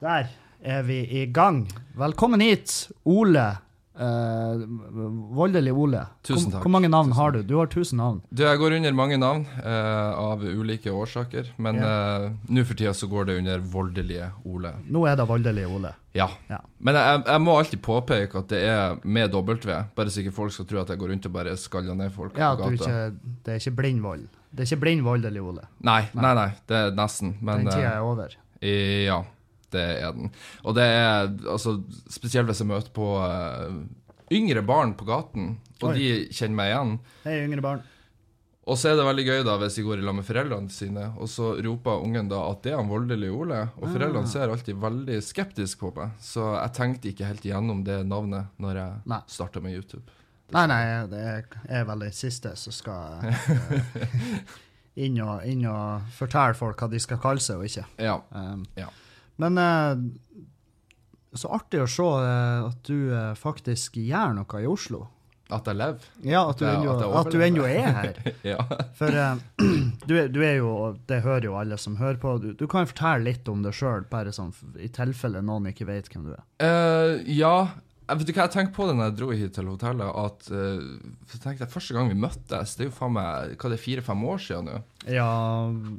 Der er vi i gang. Velkommen hit, Ole. Eh, voldelig Ole. Tusen Hvor, takk. hvor mange navn har du? Du har 1000 navn. Du, jeg går under mange navn eh, av ulike årsaker, men eh, nå for tida så går det under voldelige Ole. Nå er det voldelig Ole. Ja. Ja. Men jeg, jeg må alltid påpeke at det er med W, bare så ikke folk skal tro at jeg går rundt og bare skaller ned folk Ja, at på du gata. ikke, det er ikke blind vold. Det er ikke blind voldelig Ole. Nei, nei, nei, det er nesten. Men Den tida eh, er over. ja, det er den. Og det er altså spesielt hvis jeg møter på eh, yngre barn på gaten, og Oi. de kjenner meg igjen. Hei, yngre barn. Og så er det veldig gøy da hvis de går i lag med foreldrene sine, og så roper ungen da at det er han voldelige Ole, og foreldrene ser alltid veldig skeptisk på meg, så jeg tenkte ikke helt igjennom det navnet når jeg Nei. starta med YouTube. Nei, nei, det er- er vel det siste som skal eh, inn, og, inn og fortelle folk hva de skal kalle seg og ikke. Ja. Um, Ja. Men eh, så artig å se eh, at du eh, faktisk gjør noe i Oslo. At jeg lever. Ja, at du Ja, ennå at jeg at du overlever. ennå er her. Ja. For eh, du, er- du er jo, og det hører jo alle som hører på, du, du kan jo fortelle litt om deg sjøl, bare sånn f- i tilfelle noen ikke vet hvem du er. Eh, ja. Jeg vet du hva jeg tenkte på da jeg dro hit til hotellet, at eh, så tenkte jeg første gang vi møttes, det er jo faen meg hva det er fire-fem år siden nå. Ja,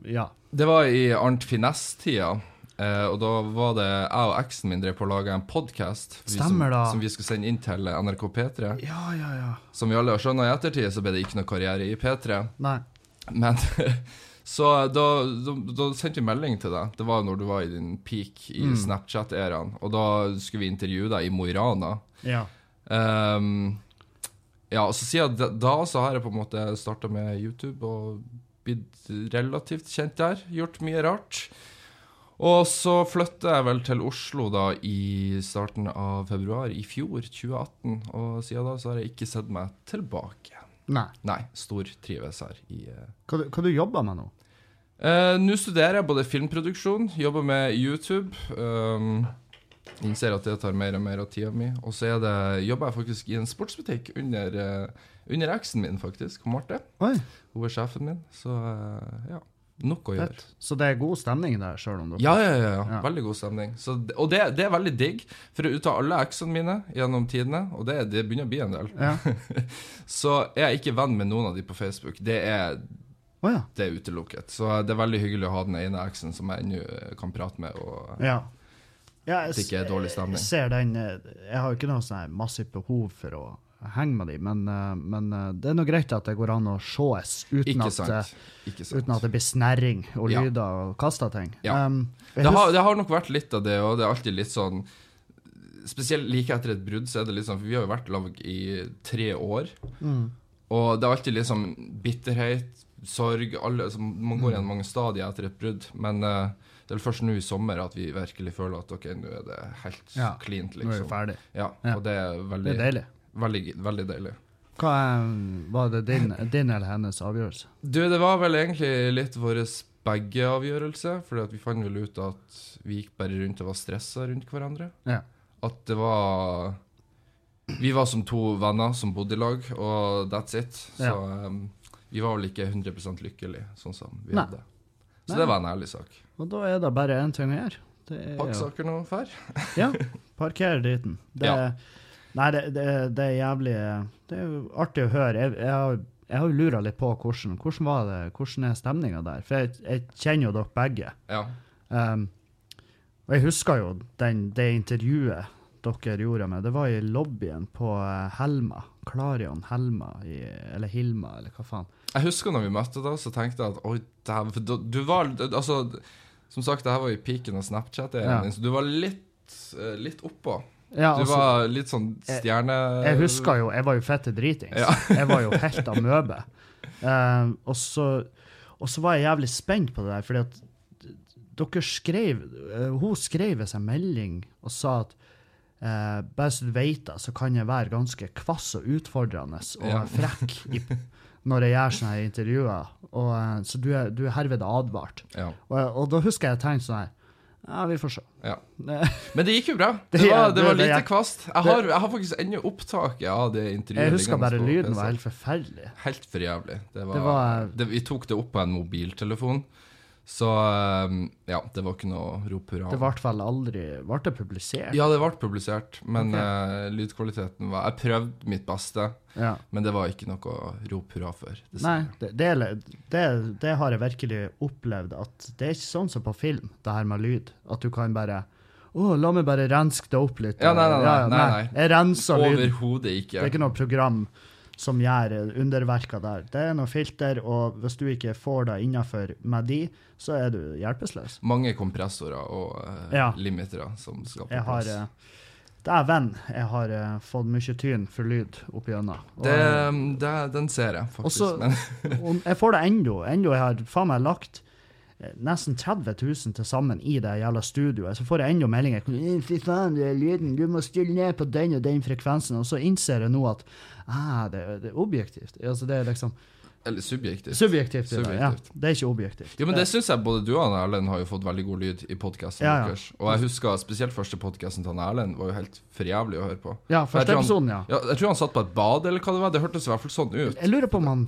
ja. Det var i Arnt Finesse-tida. eh, og da var det jeg og eksen min drev på å lage en podkast som, Stemmer da. som vi skulle sende inn til NRK P3. Ja, ja, ja. Som vi alle har skjønna i ettertid, så ble det ikke noe karriere i P3. Nei. Men Så da, da, da sendte vi melding til deg. Det var når du var i din peak i Mm. Snapchat-æraen. Og da skulle vi intervjue deg i Mo i Rana. Ja. Ehm, ja, og så siden da, da så har jeg på en måte starta med YouTube og blitt relativt kjent der. Gjort mye rart. Og så flytta jeg vel til Oslo da i starten av februar i fjor, 2018. Og siden da så har jeg ikke sett meg tilbake. Nei. Nei, stortrives her i eh, Hva, du- hva du jobber med nå? Eh, Nå studerer jeg både filmproduksjon, jobber med YouTube. ehm, innser at det tar mer og mer av tida mi. Og så er det, jobber jeg faktisk i en sportsbutikk under, eh, under eksen min, faktisk. Marte. Oi, Hun er sjefen min. Så eh, ja. Nok å gjøre. fett. Så det er god stemning der, sjøl om du Ja, ja, ja, Ja. ja. Veldig god stemning. Så, det- og det, det er veldig digg. For ut av alle eksene mine gjennom tidene, og det, det begynner å bli en del, Ja. så er jeg ikke venn med noen av de på Facebook. Det er Å ja. det er utelukket. Så det er veldig hyggelig å ha den ene eksen som jeg ennå kan prate med. Og Ja. Ja, jeg At det ikke er dårlig stemning. Jeg ser den eh, Jeg har jo ikke noe sånn her massivt behov for å henge med dem, men, eh, men eh, det er nå greit at det går an å sees uten, ikke at, sant. eh, Ikke uten at sant. det blir snerring og Ja. lyder og kasta ting. Ja. Um, jeg Det har, husker- det har nok vært litt av det, og det er alltid litt sånn Spesielt like etter et brudd, så er det litt sånn For vi har jo vært lag i tre år. Mm. Og det er alltid litt sånn bitterhet, sorg alle, altså, Man går Mm. gjennom mange stadier etter et brudd. Men eh, det er vel først nå i sommer at vi virkelig føler at ok, nå er det helt Ja, cleant, Nå er vi liksom. ferdig. Ja, Ja. og det er Det veldig, er deilig. veldig, veldig deilig. Hva eh, var det din, din eller hennes avgjørelse? Du, det var vel egentlig litt vår begge avgjørelse, fordi at vi fant vel ut at vi gikk bare rundt og var stressa rundt hverandre. Ja. At det var Vi var som to venner som bodde i lag, og that's it. Så em, vi var vel ikke 100 lykkelige, sånn som vi Nei. hadde. Så Nei. det var en ærlig sak. Og da er det bare én ting å gjøre. Det er Pakk å- saker nå, fær. Ja, parker driten. Det, Ja. Nei, det, det, det er jævlig eh, Det er jo artig å høre. Jeg, jeg, har- jeg har jo lura litt på hvordan, hvordan var det, hvordan er stemninga der. For jeg, jeg kjenner jo dere begge. Ja. Um, og jeg husker jo den, det intervjuet dere gjorde med Det var i lobbyen på eh, Helma. Klarion Helma, i, eller Hilma, eller hva faen. Jeg husker når vi møtte da, så tenkte jeg at oi, dæven, for du, du var Altså, som sagt, det her var i peaken av Snapchat, Ja. så du var litt, eh, litt oppå. Ja, Du altså, var litt sånn stjerne... Jeg husker jo, jeg var jo fette dritings. Ja. jeg var jo helt amøbe. Uh, og, så, og så var jeg jævlig spent på det der, fordi at d- dere skrev eh, Hun skrev en melding og sa at eh, bare så du vet det, så kan jeg være ganske kvass og utfordrende og Ja. frekk i, når jeg gjør sånne her intervjuer. Og, eh, så du er, du er herved advart. Ja. Og, eh, og da husker jeg jeg tenkte sånn her Ja, vi får se. Ja. Eh, Men det gikk jo bra. Det Det gjør- var, det det- var det lite gjør- kvast. Jeg har, jeg har faktisk ennå opptaket av det intervjuet. Jeg husker liggende bare på lyden PC. var helt forferdelig. Helt for jævlig. Det var, Det var- eh, det, vi tok det opp på en mobiltelefon, så um, ja, det var ikke noe rop hurra. Det ble i hvert fall aldri Ble det publisert? Ja, det ble publisert, men Ok. eh, lydkvaliteten var Jeg prøvde mitt beste, Ja. men det var ikke noe å rope hurra for. Nei, dessverre. det, det, er- det, det har jeg virkelig opplevd. At det er ikke sånn som på film, det her med lyd. At du kan bare Å, la meg bare renske det opp litt. Ja, nei, nei, nei, Ja, nei, nei. Jeg renser lyden. Overhodet ikke. Det er ikke noe program som gjør eh, underverker der. Det er noe filter, og hvis du ikke får det innafor med de, så er du hjelpeløs. Mange kompressorer og eh, Ja. limitere som skal på Jeg har plass. eh, Dæven, jeg har eh, fått mye tyn for lyd opp igjennom. Og- det, det, den ser jeg, faktisk. Også- men Og jeg får det ennå. Ennå jeg har faen meg lagt eh, nesten 30 000 til sammen i det jævla studioet. Så får jeg ennå meldinger. «Eh, Fy faen, det er lyden. Du må stille ned på den og den frekvensen. Og så innser jeg nå at ah, det, det er objektivt. Altså, det er liksom Eller subjektivt. Subjektivt. er Det, ja. Subjektivt. det er ikke objektivt. Jo, men det syns jeg både du og han Erlend har jo fått veldig god lyd i podkasten Ja, ja. deres. Og jeg husker spesielt første podkasten til han Erlend var jo helt for jævlig å høre på. Ja, første Jeg tror han- episoden, ja. Ja, jeg tror han satt på et bad, eller hva det var. Det hørtes i hvert fall sånn ut. Jeg lurer på om han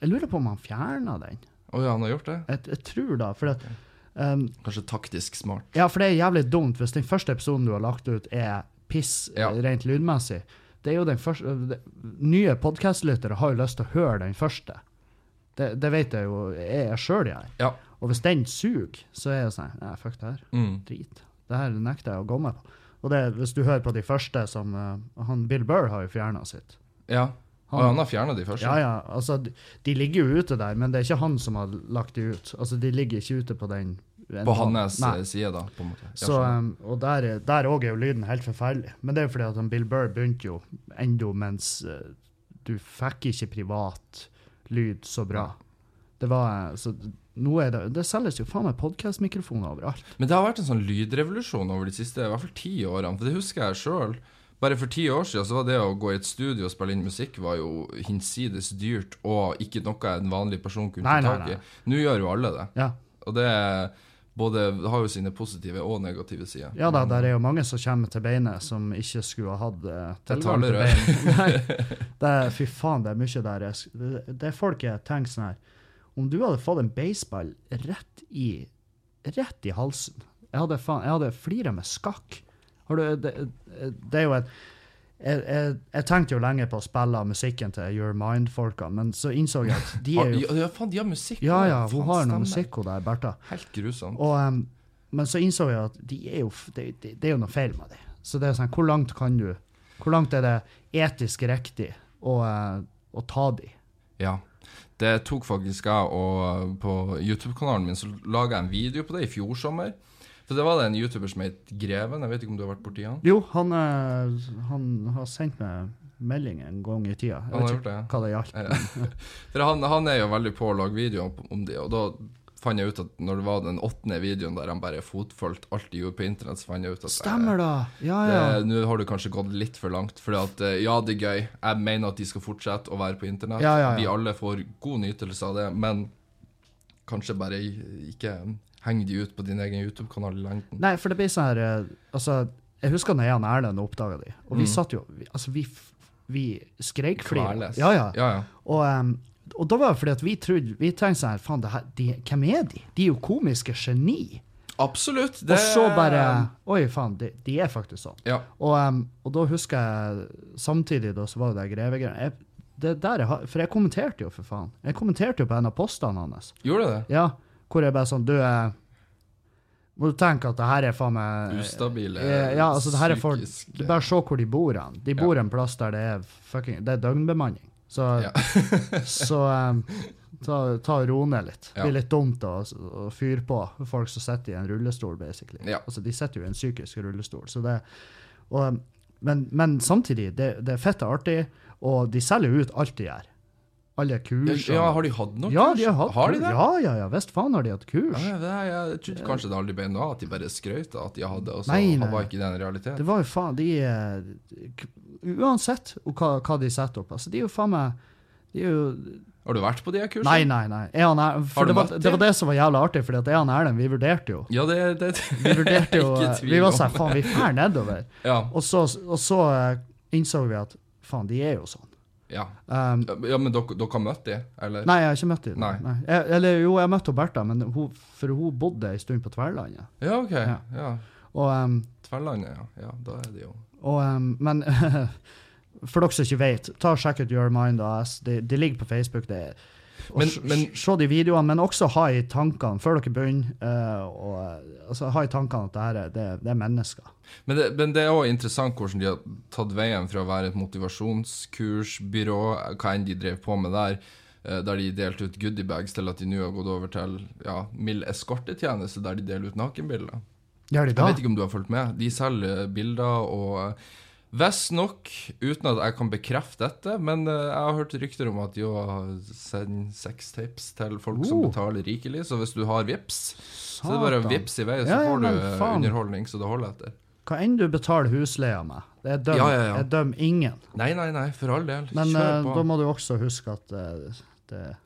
jeg lurer på om han fjerna den. Å ja, han har gjort det? Jeg, jeg tror da, for at, um, Kanskje taktisk smart. Ja, for det er jævlig dumt hvis den første episoden du har lagt ut, er piss Ja. rent lydmessig. Det er jo den første det- Nye podkastlyttere har jo lyst til å høre den første. Det, det vet jeg jo jeg er sjøl jeg er. Ja. Og hvis den suger, så er jeg sånn Nei, fuck det her. Mm. Drit. Det her nekter jeg å gå med på. Og det, hvis du hører på de første som eh, han Bill Burr har jo fjerna sitt. Ja. Og han har fjerna de første. Ja, ja. Altså, de, de ligger jo ute der, men det er ikke han som har lagt de ut. Altså, de ligger ikke ute på den På hans Nei. eh, side, da, på en måte. Ja, Så, skjønner. um, og der er- der òg er jo lyden helt forferdelig. Men det er jo fordi at han Bill Burr begynte jo ennå mens eh, du fikk ikke privat lyd så bra. Det var eh, Så d- nå er det Det selges jo faen meg podkastmikrofoner overalt. Men det har vært en sånn lydrevolusjon over de siste i hvert fall ti årene, for det husker jeg sjøl. Bare for ti år siden så var det å gå i et studio og spille inn musikk var jo hinsides dyrt, og ikke noe en vanlig person kunne Nei, nei, få tak nei. i. Nå gjør jo alle det. Ja, Og det er både det har jo sine positive og negative sider. ja da, der er jo mange som kommer til beinet som ikke skulle ha hatt eh, Det tilgang til taler beinet. Det er, fy faen, det er mye der. jeg sk- Det, det er folk jeg tenker sånn her Om du hadde fått en baseball rett i, rett i halsen Jeg hadde, faen- jeg hadde flira med skakk. Har du, det, det er jo et jeg, jeg, jeg tenkte jo lenge på å spille av musikken til Your Mind-folka, men så innså jeg at de Ja, er jo ja, faen, de har musikk. Ja ja, Faen, hun har noe stemmer. musikk, hun der, Bertha. Helt grusomt. Og, em, men så innså jeg at de er jo, f- det, det, det er jo noe feil med dem. Så det er sånn, hvor langt kan du Hvor langt er det etisk riktig å, eh, å ta dem? Ja. Det tok faktisk jeg, og eh, på YouTube-kanalen min så laga jeg en video på det i fjor sommer. For det var det en YouTuber som het Greven, jeg vet ikke om du har vært borti han? Jo, han, eh, han har sendt meg melding en gang i tida. Han Jeg har vet gjort det. ikke hva det gjaldt. Eh, For han, han er jo veldig på å lage videoer på- om det, og da fant jeg ut at når det var den åttende videoen der han bare fotfølte alt de gjorde på internett, så fant jeg ut at eh, Stemmer da! Ja, ja. Det- Nå har du kanskje gått litt for langt. For at, eh, ja, det er gøy. Jeg mener at de skal fortsette å være på internett. Ja, ja, ja. Vi alle får god nytelse av det, men kanskje bare i- ikke heng de ut på din egen YouTube-kanal i lengden. Nei, for det blir sånn her eh, Altså, jeg husker når jeg og Erlend oppdaga de, og vi Mm. satt jo vi, Altså, vi, f- vi skreik flere. Kveles. Ja, ja. ja, ja. Og, em, og da var det fordi at vi trodde Vi tenkte sånn her, faen, det her- de, hvem er de? De er jo komiske geni. Absolutt. Og så bare Oi, faen, de, de er faktisk sånn. Ja. Og, em, og da husker jeg samtidig da, så var det der grevegreiene. Jeg- Det der jeg, har- for jeg kommenterte jo, for faen. Jeg kommenterte jo på en av postene hans. Gjorde det det? Ja, hvor jeg bare sånn Du, eh, må du tenke at det her er faen meg Ustabile, Eh, Ja, altså, det her er folk psykiske- du Bare se hvor de bor hen. De bor en plass der det er fucking Det er døgnbemanning. Så, Ja. så em, ta, ta og ro ned litt. Det Ja. blir litt dumt å, å fyre på folk som sitter i en rullestol, basically. Ja. Altså, de sitter jo i en psykisk rullestol. Så det, og, em, men, men samtidig, det, det er fett og artig, og de selger jo ut alt de gjør. alle kursene. Mm. Ja, har de hatt noe? Ja, de har hatt Har de kurs. det? Ja, ja, ja. Visst faen har de hatt kurs. Ja, det er, jeg trodde kanskje det aldri ble noe av, at de bare skrøt av at de hadde, og så Nei, nei. var ikke det en realitet. Det var jo faen De eh, k- Uansett og hva, hva de setter opp, altså, de er jo faen meg de er jo, Har du vært på de her kursene? Nei, nei, nei. Er han er, Har for du det, var, møtt dem? det var det som var jævla artig, for jeg og Erlend vi vurderte jo. Ja, det, det, Vi vurderte jo, Ikke eh, tvil vi var om sånn, faen, vi drar nedover. ja, Og så, og så eh, innså vi at faen, de er jo sånn. ja. Um, ja, men dere, dere har møtt de, eller? nei, jeg har ikke møtt dem. Nei. Jeg, eller jo, jeg møtte Bertha, men hun, for hun bodde en stund på Tverlandet. Ja, ok. Ja. Ja. Og, um, Tverlandet, ja. ja. Da er det jo og, um, men for dere som ikke vet, ta og sjekk ut Your Mind AS. Det, det ligger på Facebook. det er og Men- s- men- s- Se de videoene, men også ha i tankene før dere begynner. eh, og, eh, altså, ha i tankene at det, her er, det, det er mennesker. Men det, men det er òg interessant hvordan de har tatt veien fra å være et motivasjonskursbyrå, hva enn de drev på med der, eh, der de delte ut goodiebags, til at de nå har gått over til ja, mild eskortetjeneste, der de deler ut nakenbilder. Gjør de Jeg da? vet ikke om du har fulgt med. De selger bilder og Visstnok, uten at jeg kan bekrefte dette, men eh, jeg har hørt rykter om at de òg sender sextapes til folk som Oh. betaler rikelig, så hvis du har vips, så er det bare å Satan. vips i vei, så Ja, ja, får du men eh, faen. underholdning så det holder etter. Hva enn du betaler husleia med, jeg dømmer Ja, ja, ja. jeg dømmer ingen. Nei, nei, nei, for all del. Men eh, Kjør på. da må du også huske at eh, det,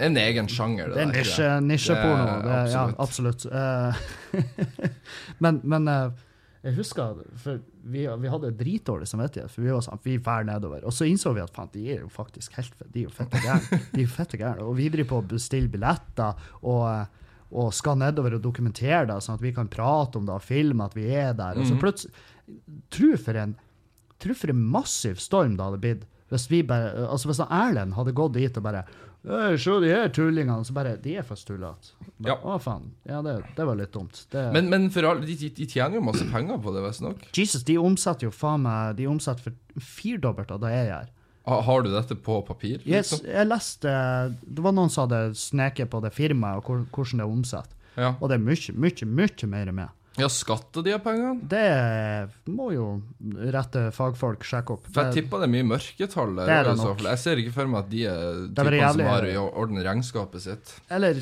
En egen sjanger, det er der, nisje, tror jeg. nisjeporno. Det er Det, ja, absolutt. Eh, men men eh, jeg husker for vi, vi hadde dritdårlig samvittighet, for vi var sånn, vi drar nedover. Og så innså vi at faen, de er jo faktisk helt fe- de er jo fette gærne. De er jo fette gærne. Og vi driver på å bestille billetter og, eh, og skal nedover og dokumentere det, sånn at vi kan prate om det og filme at vi er der. Og så Mhm. plutselig Tro for en tror for en massiv storm det hadde blitt hvis vi bare, altså hvis han Erlend hadde gått dit og bare «Øy, Se de her tullingene. Så bare De er faktisk tullete. Ja. Å, faen. Ja, det, det var litt dumt. Det, Men, men for all, de, de, de tjener jo masse penger på det, visstnok. Jesus, de omsetter jo faen meg De omsetter for firdobbelt av det jeg gjør. Ha, har du dette på papir? Jeg, liksom? jeg leste Det var noen som hadde sneket på det firmaet og hvor, hvordan det er omsatt. Ja. Og det er mye, mye, mye mer med. ja, skatter de av pengene? Det må jo rette fagfolk sjekke opp. For jeg Det- tipper det er mye mørketall der. Det er i det så nok. fall. Jeg ser ikke for meg at de er er typene jævlig- som har i orden regnskapet sitt. Eller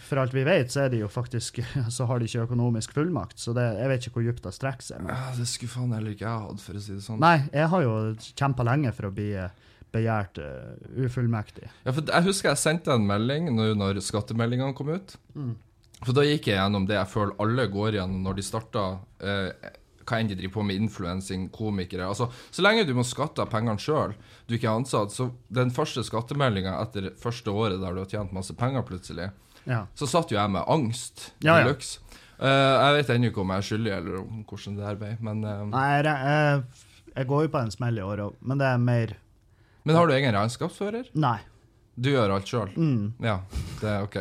for alt vi vet, så er de jo faktisk Så har de ikke økonomisk fullmakt, så det, jeg vet ikke hvor dypt det strekker seg. Men. Ja, Ah, det skulle faen heller ikke jeg hatt, for å si det sånn. Nei, jeg har jo kjempa lenge for å bli eh, begjært eh, ufullmektig. Ja, for jeg husker jeg sendte en melding når, når skattemeldingene kom ut. Mm. For da gikk jeg gjennom det jeg føler alle går gjennom når de starter eh, hva enn de driver på med, influensing, komikere. Altså, så lenge du må skatte av pengene sjøl, du ikke er ansatt, så den første skattemeldinga etter første året der du har tjent masse penger plutselig, Ja. så satt jo jeg med angst. Ja, ja. deluxe. Eh, jeg vet ennå ikke om jeg er skyldig, eller om hvordan det her ble, men, eh, Nei, jeg, re- jeg, jeg går jo på en smell i år òg, men det er mer men har du egen regnskapsfører? Nei. Du gjør alt sjøl? Mm. Ja, det er OK.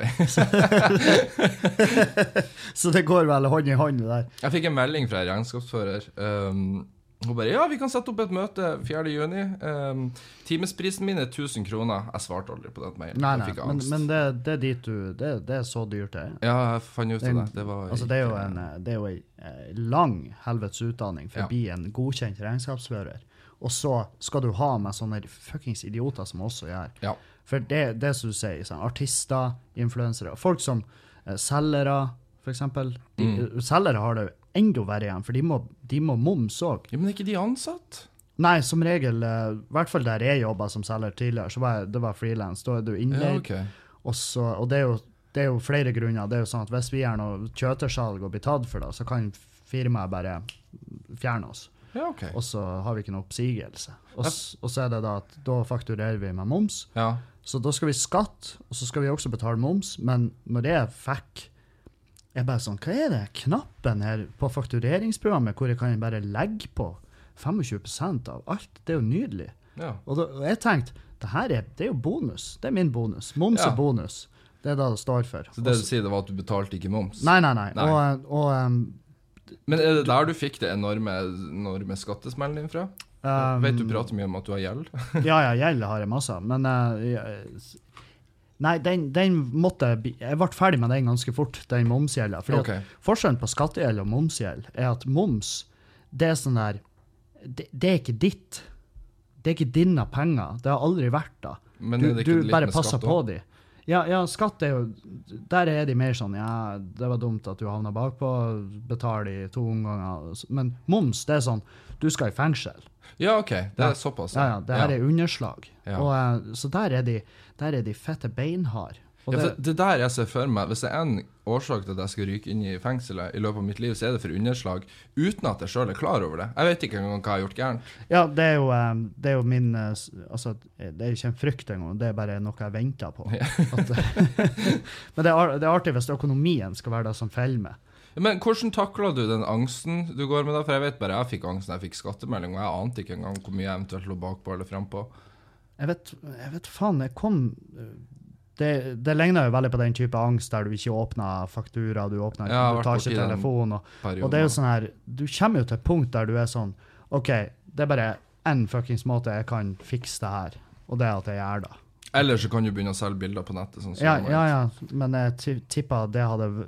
Så det går vel hånd i hånd, det der. Jeg fikk en melding fra en regnskapsfører. Um, hun bare 'Ja, vi kan sette opp et møte 4. juni. Um, timesprisen min er 1000 kroner.' Jeg svarte aldri på den mailen. Nei, nei, jeg fikk men, angst. men det, det er dit du Det, det er så dyrt, det er. ja, jeg fant ut av Den- det. Det var Altså, det er jo ikke- en, eh, det er jo en eh, lang helvetes utdanning for Ja. å bli en godkjent regnskapsfører. Og så skal du ha med sånne fuckings idioter som også gjør. Ja. For det, det som du sier, sånn, artister, influensere, folk som eh, selgere, for eksempel. De, eh, Mm. Selgere har det jo enda verre igjen, for de må, de må moms òg. ja, Men er ikke de ansatt? Nei, som regel, eh, i hvert fall der jeg jobba som selger tidligere, så var jeg, det var frilans. Da er du Ja, innleid. ok. Og, så, og det, er jo, det er jo flere grunner. Det er jo sånn at Hvis vi gjør noe kjøtersalg og blir tatt for det, så kan firmaet bare fjerne oss. Ja, ok. Og så har vi ikke noe oppsigelse. Og, s- og så er det da at da fakturerer vi med moms. Ja. Så da skal vi skatte, og så skal vi også betale moms. Men når jeg fikk Jeg bare sånn Hva er det knappen her på faktureringsprogrammet hvor jeg kan bare legge på 25 av alt? Det er jo nydelig. ja. Og, da, og jeg tenkte det her er, det er jo bonus. Det er min bonus. Moms Ja. er bonus. Det er det det står for. Så det du Også- sier, det var at du betalte ikke moms? nei, nei, nei. Nei. Og, og um, Men er det der du fikk det enorme, enorme skattesmellen din fra? um, vet du prater mye om at du har gjeld? Ja, ja, gjeld har jeg masse av, men eh, jeg- Nei, den, den måtte jeg bli- Jeg ble ferdig med den ganske fort, den momsgjelda. Fordi Ok. at Forskjellen på skattegjeld og momsgjeld er at moms, det er sånn der det, det er ikke ditt. Det er ikke dine penger. Det har aldri vært det. Men Du, er det ikke du litt bare med passer skatt på også? de. Ja, ja, skatt er jo Der er de mer sånn Ja, det var dumt at du havna bakpå, betal i to omganger. Men moms, det er sånn Du skal i fengsel. Ja, OK. Det Ja. er såpass. Ja, ja, det her er underslag. Ja. Og, eh, så der er de, der er de fette beinhard. Og Ja, det, for det der jeg ser for meg, Hvis det er en årsak til at jeg skal ryke inn i fengselet i løpet av mitt liv, så er det for underslag uten at jeg sjøl er klar over det. Jeg vet ikke engang hva jeg har gjort gærent. ja, det, er jo, eh, det er jo min eh, s- Altså, det er jo ikke en frykt engang, det er bare noe jeg venter på. At, men det er, ar- det er artig hvis økonomien skal være det som feller meg. Men hvordan takla du den angsten du går med da? For jeg vet bare jeg fikk angsten jeg fikk skattemelding, og jeg ante ikke engang hvor mye jeg eventuelt lå bakpå eller frampå. Jeg vet, jeg vet faen, jeg kom eh, det, det ligner jo veldig på den type angst der du ikke åpner faktura, du, åpner, Ja, du jeg har vært tar borti ikke den telefonen. Og, Og det er jo sånn her, du kommer jo til et punkt der du er sånn, ok, det er bare en fuckings måte jeg kan fikse det her, og det er at jeg gjør det. Eller så kan du begynne å selge bilder på nettet. Sånn, som sånn- Ja, man- ja, ja, men jeg ti- tipper det hadde,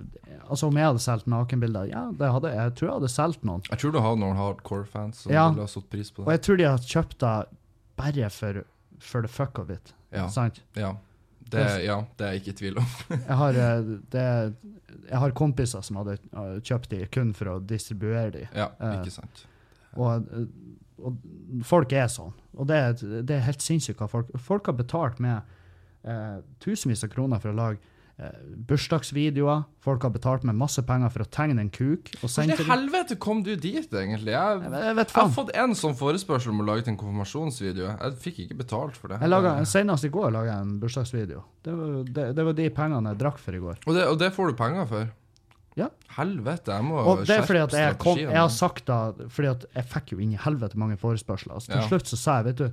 altså om jeg hadde selgt nakenbilder, ja, det hadde, jeg tror jeg hadde selgt noen. Jeg tror du har noen hardcore fans som Ja. ville ha satt pris på Og det. jeg tror de hadde kjøpt det bare for, for the fuck of it, Ja, sant? ja. Det, ja, det er jeg ikke i tvil om. Jeg har, eh, det, jeg har kompiser som hadde eh, kjøpt de kun for å distribuere de. Ja, Eh, ikke sant. Og, og folk er sånn. Og det er, det er helt sinnssykt hva folk Folk har betalt med eh, tusenvis av kroner for å lage eh, bursdagsvideoer. Folk har betalt med masse penger for å tegne en kuk. Og sende Hvordan i til dem. helvete kom du dit, egentlig? Jeg Jeg, vet- jeg vet Jeg har faen. fått en sånn forespørsel om å lage til en konfirmasjonsvideo. Jeg fikk ikke betalt for det. Jeg laget, senest i går laga jeg en bursdagsvideo. Det var, det, det var de pengene jeg drakk for i går. og, det, og det får du penger for? Ja. Helvete, jeg må Og det er fordi at jeg, kom, strategien. jeg har sagt da Fordi at jeg fikk jo inn i helvete mange forespørsler. Så til Ja. slutt så sa jeg, vet du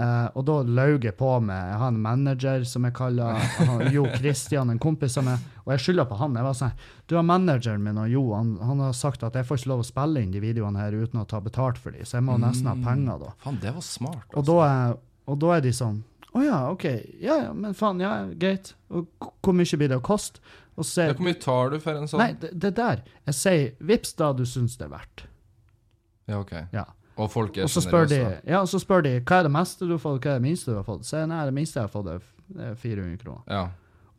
eh, Og da laug jeg på med Jeg har en manager som jeg kaller han- Jo Kristian, en kompis av meg, og jeg skylder på han. Jeg var sånn Du har manageren min og Jo, han, han har sagt at jeg får ikke lov å spille inn de videoene her uten å ta betalt for de, så jeg må nesten ha penger da. Faen, det var smart. Og da er, og da er de sånn Å ja, OK. Ja, ja, men faen, ja, greit. Og k- hvor mye blir det å koste? Og så Ja, sier Hvor mye tar du for en sånn? Nei, det, det der. Jeg sier vips da du syns det er verdt. Ja, ok. Ja. Og folk er Og så spør, de, generøse. ja, og så spør de hva er det meste du har fått, hva er det minste du har fått. Så jeg, nei, det minste jeg har fått, er f- det er 400 kroner. Ja.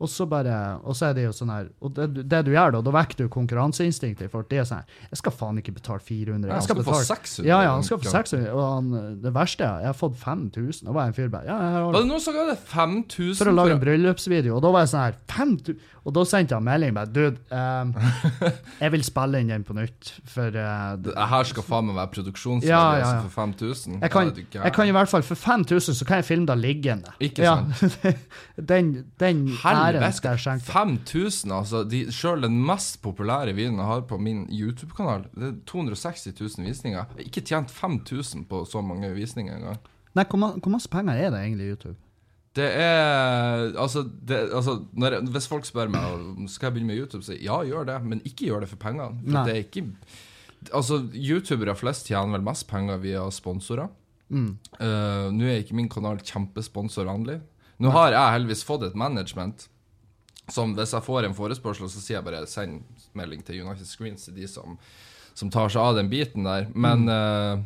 Og så bare, og så er det jo sånn her, og det, du- det du gjør da, da vekker du konkurranseinstinktet i folk. De er sånn her, jeg skal faen ikke betale 400. Ja, Jeg han skal skal få betale 600. ja, ja, han skal få 600. Og han, det verste er, jeg har fått 5000. Da var jeg en fyr bare, ja, jeg har Var det noen som ga deg 5000 for å lage en bryllupsvideo. Og da var jeg sånn her, 5000? Og da sendte jeg en melding bare, dude, ehm, jeg vil spille inn den på nytt, for eh, Det her skal faen meg være produksjonsverdi Ja, ja, ja. altså, for 5000. Jeg kan, Er du gæren? jeg kan i hvert fall, for 5000 så kan jeg filme det liggende. Ikke den den æren skal jeg Helvete! skjenke. 5000, altså. De, selv den mest populære videoen jeg har på min YouTube-kanal, det er 260 000 visninger. Jeg har ikke tjent 5000 på så mange visninger engang. Nei, hvor, ma- hvor masse penger er det egentlig i YouTube? Det er Altså, det, altså når, jeg- hvis folk spør meg om skal jeg begynne med YouTube, så ja, gjør det, men ikke gjør det for pengene. For Nei. det er ikke Altså, youtubere flest tjener vel mest penger via sponsorer. Mm. Eh, Nå er ikke min kanal kjempesponsorvennlig. Nå har jeg heldigvis fått et management som hvis jeg får en forespørsel, så sier jeg bare send melding til United Screens, til de som, som tar seg av den biten der. Men Mm. eh,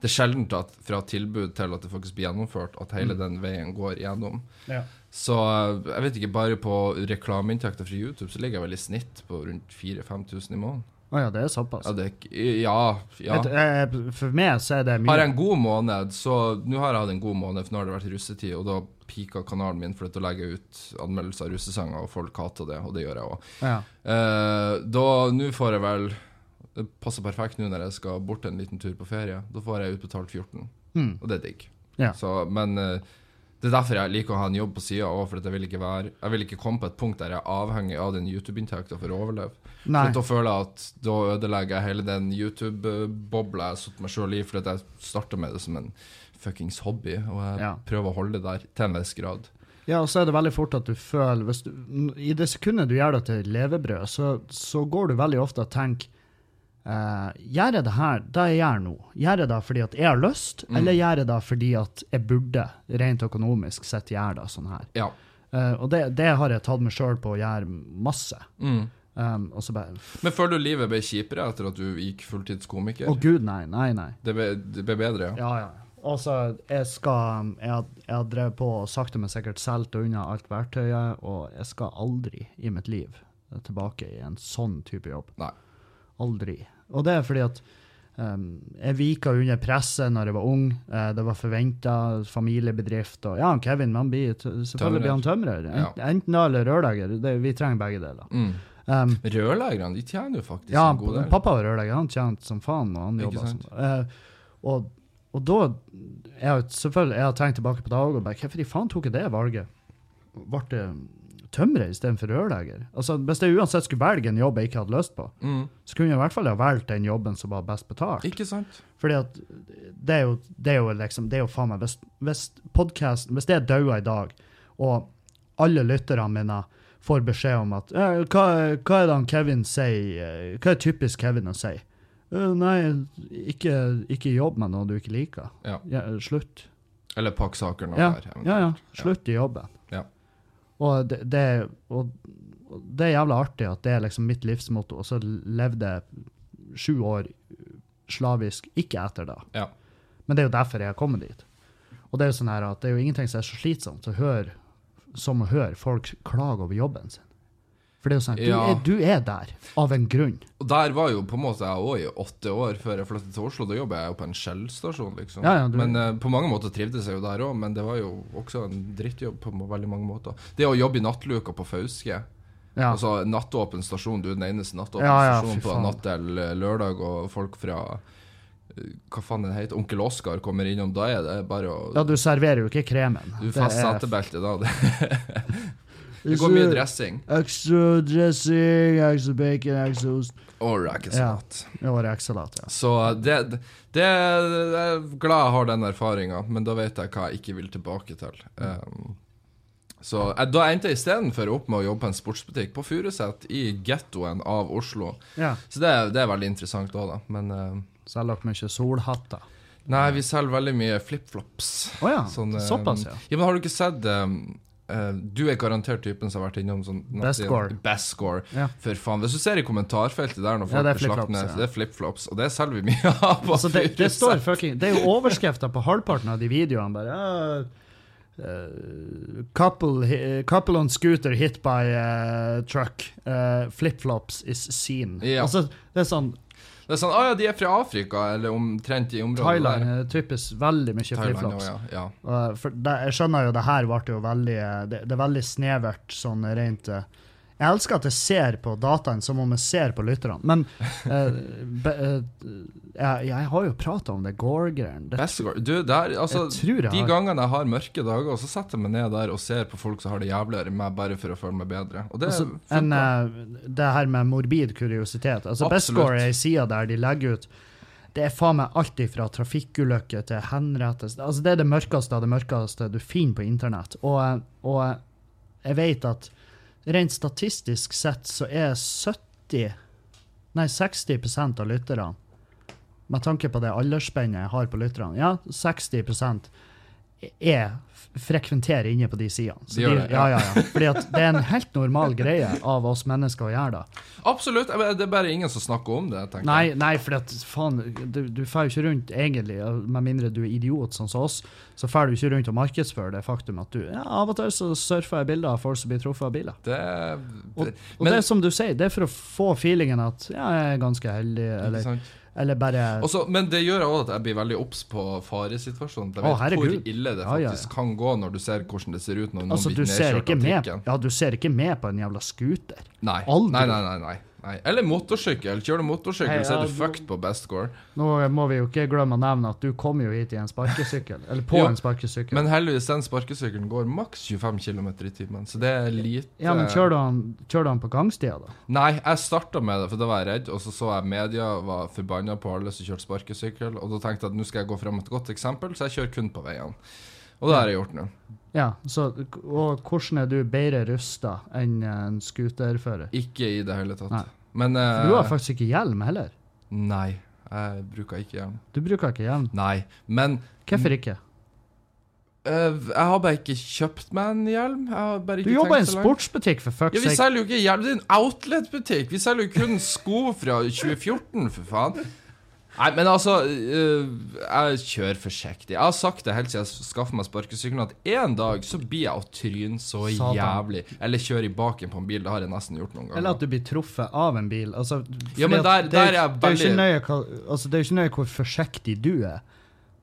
det er sjelden at fra tilbud til at det faktisk blir gjennomført, at hele Mm. den veien går gjennom. Ja. Så eh, jeg vet ikke, bare på reklameinntekter fra YouTube så ligger jeg vel i snitt på rundt 4000-5000 i måneden. Å ja, det er såpass. Ja, det er ikke Ja. ja. Et- eh, for meg så er det mye. Har jeg en god måned, så Nå har jeg hatt en god måned, for nå har det vært russetid, og da pika kanalen min for å legge ut anmeldelser av russesanger, og folk hater det, og det gjør jeg òg. Ja. Eh, da Nå får jeg vel Det passer perfekt nå når jeg skal bort en liten tur på ferie. Da får jeg utbetalt 14, Mm. og det er digg. Ja. Så, men eh, det er derfor jeg liker å ha en jobb på sida òg, for at jeg vil, ikke være, jeg vil ikke komme på et punkt der jeg er avhengig av den YouTube-inntekta for å overleve. Nei. For Da føler jeg at da ødelegger jeg hele den YouTube-bobla jeg har satt meg sjøl i, fordi at jeg starta med det som en fuckings hobby, og jeg Ja. prøver å holde det der til en viss grad. ja, og så er det veldig fort at du føler hvis du, I det sekundet du gjør det til levebrød, så, så går du veldig ofte og tenker eh, Gjør jeg det her, det jeg gjør nå? Gjør jeg det fordi at jeg har lyst, Mm. eller gjør jeg det fordi at jeg burde, rent økonomisk sett, gjøre det sånn her? Ja. Eh, og det, det har jeg tatt meg sjøl på å gjøre masse. Um, og så bare Men føler du livet ble kjipere etter at du gikk fulltidskomiker? Å, gud, nei, nei, nei. Det, ble, det ble bedre, ja. Ja, ja. Og så jeg skal Jeg har- jeg har drevet på og sakte, men sikkert solgt unna alt verktøyet, og jeg skal aldri i mitt liv tilbake i en sånn type jobb. Nei. Aldri. Og det er fordi at um, jeg vika under presset når jeg var ung. Eh, det var forventa familiebedrift, og ja, Kevin man blir t selvfølgelig blir han tømrer. Ja. Ent- Enten det eller rørlegger. Det- Vi trenger begge deler. Mm. Um, Rørleggerne de tjener jo faktisk ja, en god del. pappa var rørlegger. Han tjente som faen, og han Ikke jobba som sant? eh, og, og da jeg, har Selvfølgelig, jeg har tenkt tilbake på dag og bare Hvorfor i faen tok jeg det valget? Ble det tømrer istedenfor rørlegger? Altså, Hvis jeg uansett skulle velge en jobb jeg ikke hadde lyst på, Mm. så kunne jeg i hvert fall ha valgt den jobben som var best betalt. Ikke sant? Fordi at det er jo, det er jo liksom Det er jo faen meg Hvis, hvis podkasten Hvis det dauer i dag, og alle lytterne mine får beskjed om at eh, hva, hva er det han Kevin sier eh, Hva er typisk Kevin å si? «Eh, nei, ikke, ikke jobb med noe du ikke liker. Ja. slutt. Eller pakk saker nå Ja, her. eventuelt. Ja, ja. Slutt i jobben. Ja. Og det, det, er- og og det er jævla artig at det er liksom mitt livsmotto, og så levde jeg sju år slavisk ikke etter det. Ja. Men det er jo derfor jeg har kommet dit. Og det er jo sånn her at det er jo ingenting som er så slitsomt å høre, som å høre folk klage over jobben sin. For det er jo sånn, du, Ja. er, du er der av en grunn. Og der var jo på en måte jeg òg i åtte år før jeg flyttet til Oslo. Da jobba jeg jo på en Shell-stasjon, liksom. Ja, ja, du- Men eh, på mange måter trivdes jeg jo der òg, men det var jo også en drittjobb på må- veldig mange måter. Det å jobbe i nattluka på Fauske, Ja, altså nattåpen stasjon, du er den eneste nattåpen Ja, ja, fy stasjonen på faen. natt til eh, lørdag, og folk fra eh, hva faen den heter, Onkel Oskar kommer innom, da er det bare å ja du serverer jo ikke kremen. Du får setebelte da. Det, det går mye dressing. Extra dressing, extra bacon, extra ost. Og rekesalat. Det var eksalat, ja. Så det, det, det Jeg er glad jeg har den erfaringa, men da vet jeg hva jeg ikke vil tilbake til. Um, så jeg, da endte jeg istedenfor opp med å jobbe på en sportsbutikk på Furuset, i gettoen av Oslo. ja. Så det, er- det er veldig interessant òg, da. Men eh, Selger dere mye solhatter? nei, vi selger veldig mye flipflops. Å ja, Sånn, eh, Ah, såpass, ja. Ja, men har du ikke sett um, eh, Du er garantert typen som har vært innom sånn Best score. Best sscore. Ja. For faen. Hvis du ser i kommentarfeltet der Ja, når folk det er blir slakt flip-flops, ned, ja. det er flipflops, og det selger vi mye av på Altså, det, det Furuset. står fucking Det er jo overskrifter på halvparten av de videoene. Bare «Ah, eh, couple, hi- couple on scooter hit by eh, truck. Eh, Flipflops is seen. Ja. Altså, det er sånn Det er sånn, ah, ja, de er fra Afrika, eller omtrent i området Thailand der. er typisk veldig mye Thailand, flipflops. ja, ja. Eh, for det, jeg skjønner jo det her ble jo veldig eh, Det, det er veldig snevert sånn rent eh. Jeg elsker at jeg ser på dataen som om jeg ser på lytterne, men eh, be, eh, jeg, jeg har jo prata om det Gore-greien. Det- Best score. Du, der, altså, Jeg tror jeg de har gangene jeg har mørke dager, så setter jeg meg ned der og ser på folk som har det jævligere enn meg, bare for å føle meg bedre. Og det Altså, funker. en, eh, det her med morbid kuriositet. Altså, Absolutt. Bestcore er ei side der de legger ut Det er faen meg alt ifra trafikkulykker til henrettelse altså, Det er det mørkeste av det mørkeste du finner på internett. Og, og jeg vet at rent statistisk sett så er 70 Nei, 60 av lytterne med tanke på det aldersspennet jeg har på lytterne, ja, 60 er frekventerer inne på de sidene. Så De gjør det, ja, ja, ja. Fordi at det er en helt normal greie av oss mennesker å gjøre det. Absolutt. jeg- Det er bare ingen som snakker om det, tenker Nei, jeg. nei, fordi at faen, du, du får jo ikke rundt egentlig, med mindre du er idiot sånn som oss, så får du ikke rundt og markedsføre det faktum at du ja, Av og til så surfer jeg bilder av folk som blir truffet av biler. Det, Og, det, og det er som du sier, det er for å få feelingen at ja, jeg er ganske heldig, ikke eller, sant? eller bare Og så- men det gjør også at jeg blir veldig obs på faresituasjonen. Jeg Å, vet hvor herregud. ille det Ja, ja, ja. faktisk kan gå når du ser hvordan det ser ut når noen Altså, blir du ser, nedkjørt ikke av med, trikken. ja, du ser ikke med på en jævla scooter. Nei. Aldri. Nei, nei, nei, nei, nei. Eller motorsykkel. Kjører du motorsykkel, Nei, så ja, er du du- fucked på best score. Nå må vi jo ikke glemme å nevne at du kom jo hit i en sparkesykkel. Eller på Jo, en sparkesykkel. Men heldigvis den sparkesykkelen går maks 25 km i timen, så det er lite ja, men kjører du han, kjører du han på gangstia, da? Nei, jeg starta med det, for da var jeg redd, og så så jeg media var forbanna på alle som kjørte sparkesykkel, og da tenkte jeg at nå skal jeg gå fram med et godt eksempel, så jeg kjører kun på veiene. Og det har jeg gjort nå. Ja, så, Og hvordan er du bedre rusta enn en scooterfører? Ikke i det hele tatt. Nei. Men eh, For du har faktisk ikke hjelm heller. Nei, jeg bruker ikke hjelm. Du bruker ikke hjelm. Nei, men Hvorfor ikke? eh, jeg har bare ikke kjøpt meg en hjelm. Jeg har bare Du ikke jobber i en så langt. sportsbutikk, for Ja, fuck's Vi sake. selger jo ikke hjelm, det er en outlet-butikk. Vi selger jo kun sko fra 2014, for faen. Nei, men altså, øh, jeg kjører forsiktig. Jeg har sagt det helt siden jeg skaffa meg sparkesykkelen, at en dag så blir jeg å tryne så Satan. jævlig. Eller kjører i baken på en bil. Det har jeg nesten gjort noen ganger. Eller at du blir truffet av en bil. Altså, Ja, men fordi der- at det, der er jeg det er jo ikke veldig- nøye, hva- altså, det er jo ikke nøye hvor forsiktig du er.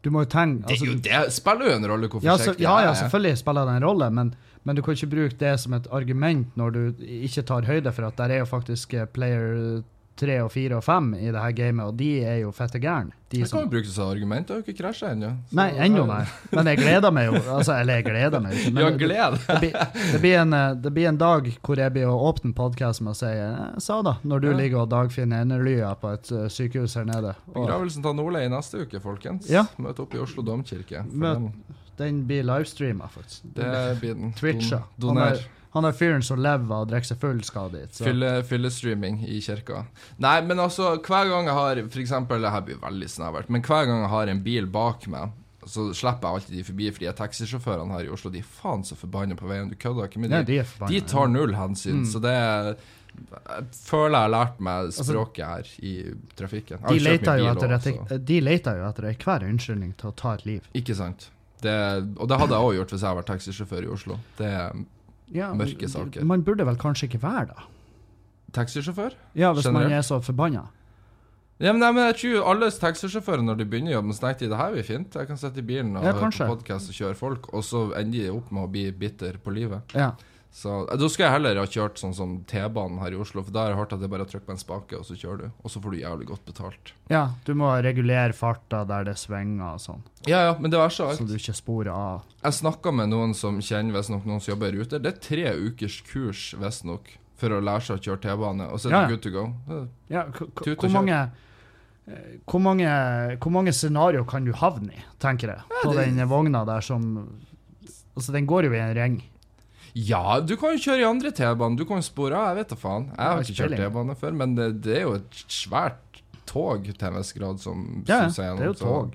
Du må jo tenke det, er altså, jo, det spiller jo en rolle hvor ja, så, forsiktig ja, ja, jeg er. selvfølgelig spiller det en rolle, men, men du kan ikke bruke det som et argument når du ikke tar høyde for at der er jo faktisk eh, player tre og fire og fem i det her gamet, og de er jo fette gærne. De Det som kan jo brukes som argument. Jeg har jo ikke krasja ennå. Så- Nei, ennå nei. Men jeg gleder meg jo. Altså, eller jeg gleder meg ikke. Ja, Men det, gled det, blir, det, blir en, eh, det blir en dag hvor jeg blir å åpne podkasten med å si eh, Sa da, når du Ja. ligger og dagfinner enelya på et eh, sykehus her nede. Og Begravelsen til Nordli i neste uke, folkens. Ja. Møt opp i Oslo domkirke. For Møt- den- den blir livestreama, faktisk. Det blir den. Twitcha. Don- Han Doner. er- Han er fyren som lever av å drikke seg full, skal dit. Så. Fylle, fyllestreaming i kirka. Nei, men altså, hver gang jeg har For eksempel, det her blir veldig snevert, men hver gang jeg har en bil bak meg, så slipper jeg alltid de forbi, fordi at taxisjåførene her i Oslo de er faen så forbanna på veien. Du kødder ikke med Ja, dem. de er De forbanna. tar null hensyn, Mm. så det er jeg føler jeg har lært meg språket her i trafikken. Jeg har Altså- de kjørt mye leter jo bil etter, også, så- etter, de leter jo etter enhver unnskyldning til å ta et liv. Ikke sant. Det, og det hadde jeg òg gjort hvis jeg hadde vært taxisjåfør i Oslo. Det er Ja, men Mørke saker. Man burde vel kanskje ikke være da? Taxisjåfør? Ja, hvis man Generelt. er så forbanna. Ja, men, nei, men jeg tror alle taxisjåfører når de begynner jobben, så tenker de det her blir fint. Jeg kan sitte i bilen og Ja, høre på kanskje. podkast og kjøre folk, og så ender de opp med å bli bitter på livet. Ja. Så eh, Da skulle jeg heller ha kjørt sånn som T-banen her i Oslo, for da har jeg hørt at det er bare å trykke på en spake, og så kjører du. Og så får du jævlig godt betalt. Ja, du må regulere farta der det svinger og sånn, Ja, ja, men det verste av så alt du ikke sporer av. Jeg snakka med noen som kjenner visstnok noen som jobber i Ruter. Det er tre ukers kurs, visstnok, for å lære seg å kjøre T-bane, og så er Ja, ja. det good to go. Eh, Ja, k- k- Tut og hvor mange eh, hvor mange, hvor mange scenario kan du havne i, tenker jeg, på den vogna der som Altså, den går jo i en ring. Ja, du kan jo kjøre i andre T-banen. Du kan jo spore av, jeg vet da faen. Jeg har Ja, ikke kjørt spilling. T-bane før, men det, det er jo et svært tog til en viss grad som Ja, ja, suser det er jo så- tog.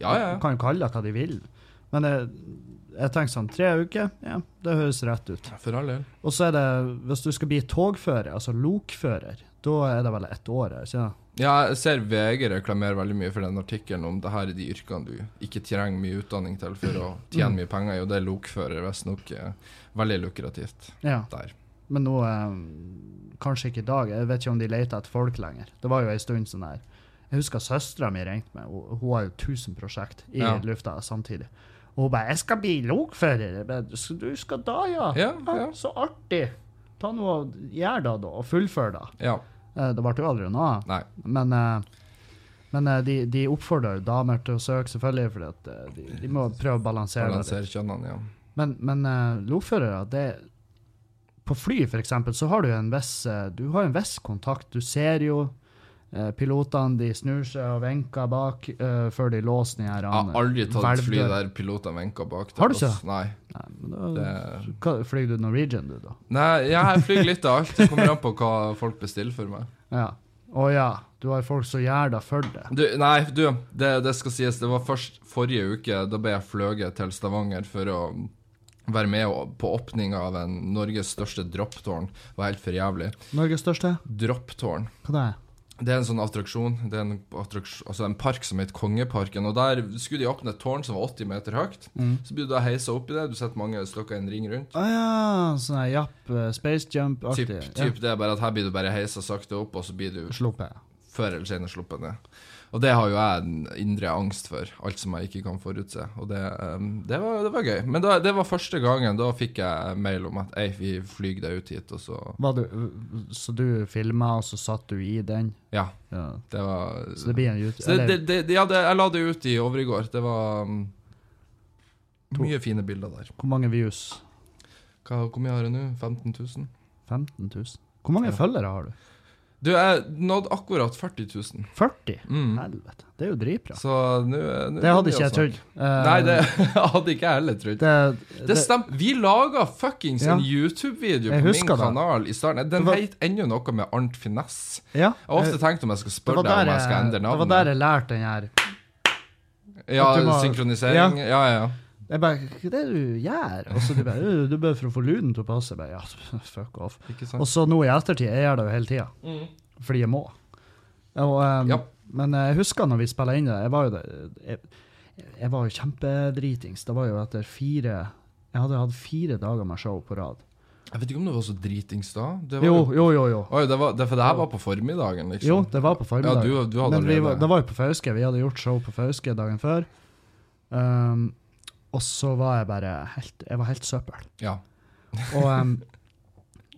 Ja, ja. Du kan jo kalle det hva de vil. Men jeg, jeg tenker sånn, tre uker, ja, det høres rett ut. For all del. Og så er det, hvis du skal bli togfører, altså lokfører, da er det vel ett år her, ikke sant? Ja, jeg ser VG reklamerer veldig mye for den artikkelen om det her er de yrkene du ikke trenger mye utdanning til for å Mm. tjene mye penger i, og det er lokfører visstnok eh, veldig lukrativt Ja. der. Men nå eh, Kanskje ikke i dag. Jeg vet ikke om de leter etter folk lenger. Det var jo en stund sånn her. Jeg husker søstera mi ringte meg. Hun, hun har jo 1000 prosjekt i Ja. lufta samtidig. Og hun bare 'Jeg skal bli lokfører'. Jeg bare, «Så Du skal da, ja? Ah, Ja, ja. Så artig! Ta noe og gjør da, da. Og fullfør, da. Ja. Eh, Det ble jo aldri noe av. Nei. Men, eh, men eh, de, de oppfordrer jo damer til å søke, selvfølgelig, fordi at eh, de, de må prøve å balansere det. litt. Balanser kjønnene, ja. Men, men eh, lokførere, det På fly, for eksempel, så har du en viss eh, Du har en viss kontakt. Du ser jo eh, pilotene, de snur seg og vinker bak eh, før de låser den her Jeg har aldri tatt et fly Hvelvdør. der pilotene vinka bak. til Har du oss. ikke? Mm. Nei. Nei, men da Det hva- Flyr du Norwegian, du, da? Nei, ja, jeg flyr litt av alt. Det kommer an på hva folk bestiller for meg. Ja. Å ja, du har folk som gjør det for deg. Du, nei, du, det, det skal sies. Det var først forrige uke. Da ble jeg fløyet til Stavanger for å være med å- på åpninga av en Norges største dropptårn. Det var helt for jævlig. Norges største? Dropptårn. Hva det er Det er en sånn attraksjon. Det er en, attraks- altså en park som heter Kongeparken. Og der skulle de åpne et tårn som var 80 meter høyt. Mm. Så blir du da heisa opp i det. Du setter mange stykker i en ring rundt. Å ja, sånn her japp, eh, space Typ, jump-aktig. typ det, bare at her blir du bare heisa sakte opp, og så blir du Ja. Sluppet. før eller senere sluppet ned. Og det har jo jeg en indre angst for, alt som jeg ikke kan forutse. Og det, ehm, det, var, det var gøy. Men da, det var første gangen da fikk jeg mail om at ei, vi flyr deg ut hit, og så Var du, så du filma, og så satt du i den? Ja. Ja. Det var Så det blir en YouTube... så det, det, det, ja, det, jeg la det ut i over i går. Det var ehm, mye fine bilder der. Hvor mange views? Hva, hvor mye har jeg nå? 15 000? 15 000? Hvor mange Ja. følgere har du? Du, jeg nådde akkurat 40 000. 40? Mm. Helvete, det er jo dritbra. Så nå er- nå Det er hadde å ikke jeg snakke. trodd. Eh, Nei, det hadde ikke jeg heller det, trodd. Det det, stemmer. Vi laga fuckings Ja. en YouTube-video Jeg på min husker det. kanal i starten. Det Den var- het ennå noe med Arnt Finesse. ja, Jeg har ofte eh, tenkt om jeg skal det spørre var deg om der jeg skal endre Det var der navnet. jeg lærte den her Ja, at du må- synkronisering. Ja, ja. Jeg bare Hva er det du gjør? Og så du bare «Øh, Du bør for å få lyden til å passe. Jeg bare ja, fuck off. Ikke Og så sant? nå i ettertid, jeg gjør det jo hele tida. Fordi jeg må. Og, eh, Mm. Ja. Men jeg husker når vi spilla inn det, jeg var jo det jeg, jeg var jo kjempedritings. Det var jo etter fire Jeg hadde hatt fire dager med show på rad. Jeg vet ikke om det var så dritings da. Det var, Jo, jo, jo. jo. Oi, det var, det, for det her var på formiddagen, liksom. Jo, det var på formiddag. Ja, du, du hadde Men vi, var- allerede det var jo på Fauske. Vi hadde gjort show på Fauske dagen før. Um, og så var jeg bare helt Jeg var helt søppel. Ja. Og um,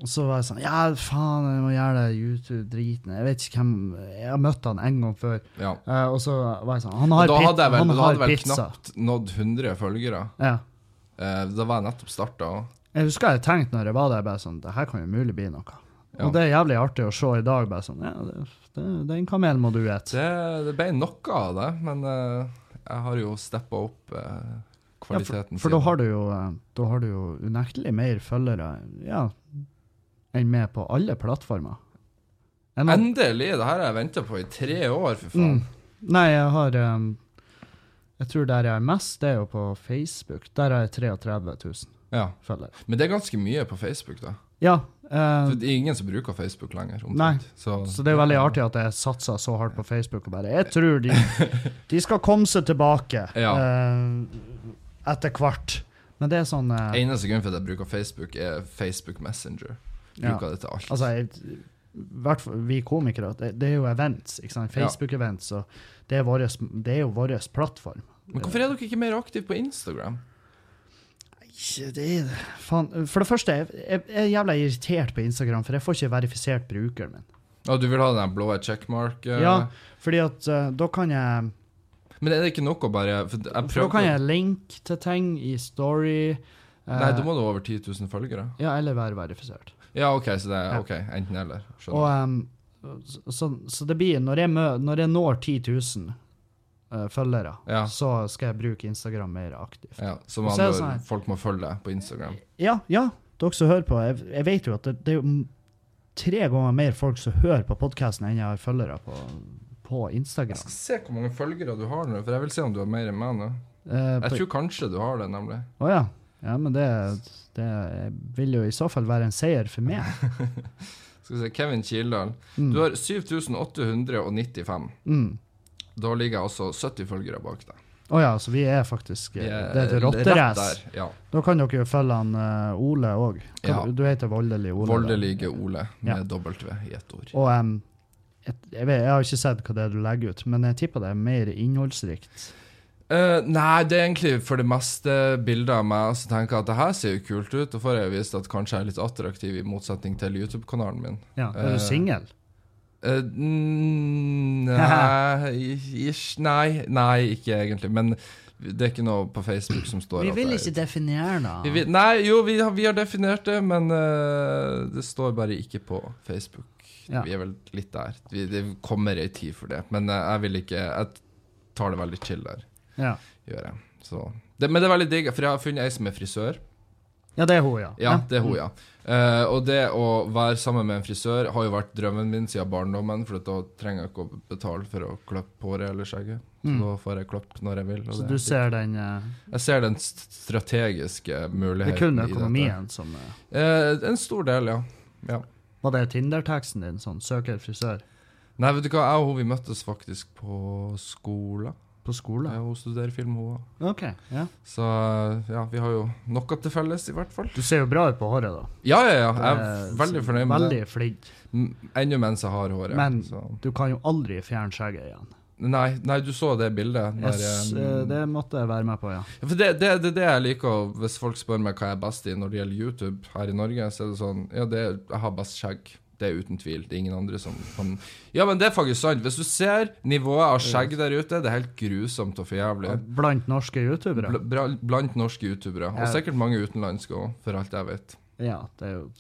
og så var jeg sånn Ja, faen, jeg må gjøre det YouTube-driten. Jeg vet ikke hvem Jeg har møtt han en gang før. ja. Eh, og så var jeg sånn Han Og har, Da pit, hadde jeg vel, han da har hadde jeg vel pizza. knapt nådd 100 følgere. Ja. Eh, da var jeg nettopp starta. Jeg husker jeg tenkte når jeg var der, bare sånn Det her kan jo mulig bli noe. Ja. Og det er jævlig artig å se i dag, bare sånn Ja, det, det, den kamelen må du ete. Det, det ble noe av det, men eh, jeg har jo steppa opp eh, Ja, for kvaliteten. for da har du jo eh, Da har du jo unektelig mer følgere ja, enn med på alle plattformer. Jeg nå- Endelig! Det her har jeg venta på i tre år, for faen. Mm. Nei, jeg har eh, Jeg tror der jeg er mest, det er jo på Facebook. Der har jeg 33 000 Ja. følgere. Men det er ganske mye på Facebook, da. Ja. eh, For det er ingen som bruker Facebook lenger. Nei. omtrent. Så, så det er veldig artig at jeg satser så hardt på Facebook og bare Jeg tror de, de skal komme seg tilbake Ja. eh, etter hvert. Men det er sånn eh, Eneste grunn for at jeg bruker Facebook, er Facebook Messenger. Ja. Bruker det til alt. Altså, jeg, hvert fall vi komikere, det, det er jo events, ikke sant? Ja. Facebook-events, og det er, våres, det er jo vår plattform. Men hvorfor er dere ikke mer aktive på Instagram? Ikke det Faen. For det første, jeg, jeg, jeg er jævla irritert på Instagram, for jeg får ikke verifisert brukeren min. Ja, du vil ha den blå checkmark? eh, Ja, fordi at eh, da kan jeg Men er det ikke nok å bare for jeg For da prøvde- kan jeg linke til ting i story. eh, Nei, da må du over 10 000 følgere. Ja, eller være verifisert. Ja, OK, så det er Ja. ok, enten eller. Og, Skjønner. em, så, så- så det blir Når jeg, mø, når jeg når 10 000 eh, følgere, Ja. så skal jeg bruke Instagram mer aktivt. Ja, som eh, og så er andre det sånn her- folk må følge deg på Instagram. Ja, ja, dere som hører på. Jeg, jeg vet jo at det, det er jo m- tre ganger mer folk som hører på podkasten enn jeg har følgere på, på Jeg Instagram. skal se hvor mange følgere du har nå, for jeg vil se om du har mer enn meg nå. Eh, Jeg på- tror kanskje du har det, nemlig. Å ja. Ja, men det, det vil jo i så fall være en seier for meg. Skal vi se, Kevin Kildahl. Mm. Du har 7895. Mm. Da ligger jeg altså 70 følgere bak deg. Å ja, så vi er faktisk eh, Vi er Det er et rett rotterace. der, Ja. Da kan dere jo følge han eh, Ole òg. Ja. Du heter Voldelig Ole. da. Voldelige Ole med Ja. W i ett ord. Og em, jeg, jeg, vet, jeg har ikke sett hva det er du legger ut, men jeg tipper det er mer innholdsrikt. Eh, nei, det er egentlig for det meste bilder av meg som tenker jeg at det her ser jo kult ut. Da får jeg vist at kanskje jeg er litt attraktiv, i motsetning til YouTube-kanalen min. Ja, Er Eh, du singel? Eh, mm, nei, ish, nei, nei, ikke egentlig. Men det er ikke noe på Facebook som står at jeg- definere vi vil, Nei, jo, vi har, vi har definert det, men eh, det står bare ikke på Facebook. Ja. Vi er vel litt der. Vi, det kommer ei tid for det. Men eh, jeg vil ikke Jeg tar det veldig chill der. Ja. gjør jeg. Så. Det, men det er veldig digg, for jeg har funnet ei som er frisør. ja, det er hun, ja. Ja, det er hun, ja. Eh, og det å være sammen med en frisør har jo vært drømmen min siden barndommen, for da trenger jeg ikke å betale for å klippe håret eller skjegget. Så Mm. da får jeg klippe når jeg vil. og Så det- du ser den eh, Jeg ser den st- strategiske Det er muligheten kun i dette. økonomien som eh, Eh, en stor del, ja. Var det Tinder-teksten din? Sånn, søker frisør Nei, vet du hva, jeg og hun vi møttes faktisk på skolen. på skole? Ja, hun studerer film, hun òg. OK. ja. Så eh, ja, vi har jo noe til felles, i hvert fall. Du ser jo bra ut på håret, da. Ja, ja, ja. Jeg Det er er veldig så- fornøyd med det. Eh, Veldig flink. M- Ennå mens jeg har håret. Men- så. Du kan jo aldri fjerne skjegget igjen. Nei, nei, du så det bildet. Der, Jeg s- eh, det måtte jeg være med på, ja. For det, det, det er det jeg liker å- hvis folk spør meg hva jeg er best i når det gjelder YouTube her i Norge. Så er det sånn Ja, det, er- jeg har best skjegg. Det er uten tvil. Det er ingen andre som kan Ja, men det er faktisk sant. Hvis du ser nivået av skjegg der ute, det er helt grusomt og for jævlig. Blant norske youtubere. Bl- bra- Blant norske youtubere. Og Ja. sikkert mange utenlandske òg, for alt jeg vet. Ja, det er jo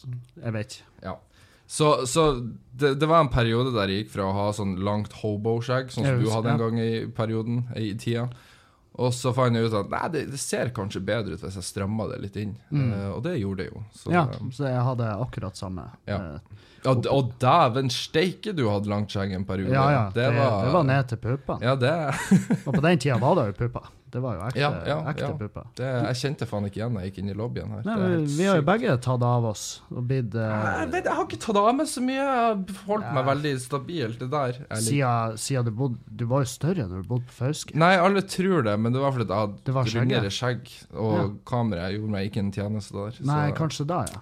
Jeg vet ikke. Så, så det, det var en periode der jeg gikk fra å ha sånn langt hobo-skjegg, sånn som Jeg du husker- hadde en ja. gang i perioden, i tida, Og så fant jeg ut at nei, det, det ser kanskje bedre ut hvis jeg strammer det litt inn. Mm. Eh, og det gjorde det jo. Så, Ja, eh, så jeg hadde akkurat samme. Ja. eh, Ja, d- og dæven steike du hadde langt skjegg en periode. ja, ja det, var, det var ned til puppene. Ja, det, Og på den tida var det jo pupper. Det var jo ekte, Ja, ja, ekte ja. pupper. det Jeg kjente faen ikke igjen da jeg gikk inn i lobbyen her. Nei, Det er men helt vi har jo sykt. begge tatt av oss og blitt Nei, eh, Jeg, vet, jeg har ikke tatt av meg så mye. Jeg har holdt meg Ja. veldig stabilt, det der. Jeg liker- Siden, siden du bodde Du var jo større når du bodde på Fauske. Nei, alle tror det, men det var fordi jeg Det var hadde skjegget. rundere skjegg, og kameraet gjorde meg ikke en tjeneste der. Så, Nei, kanskje da, ja.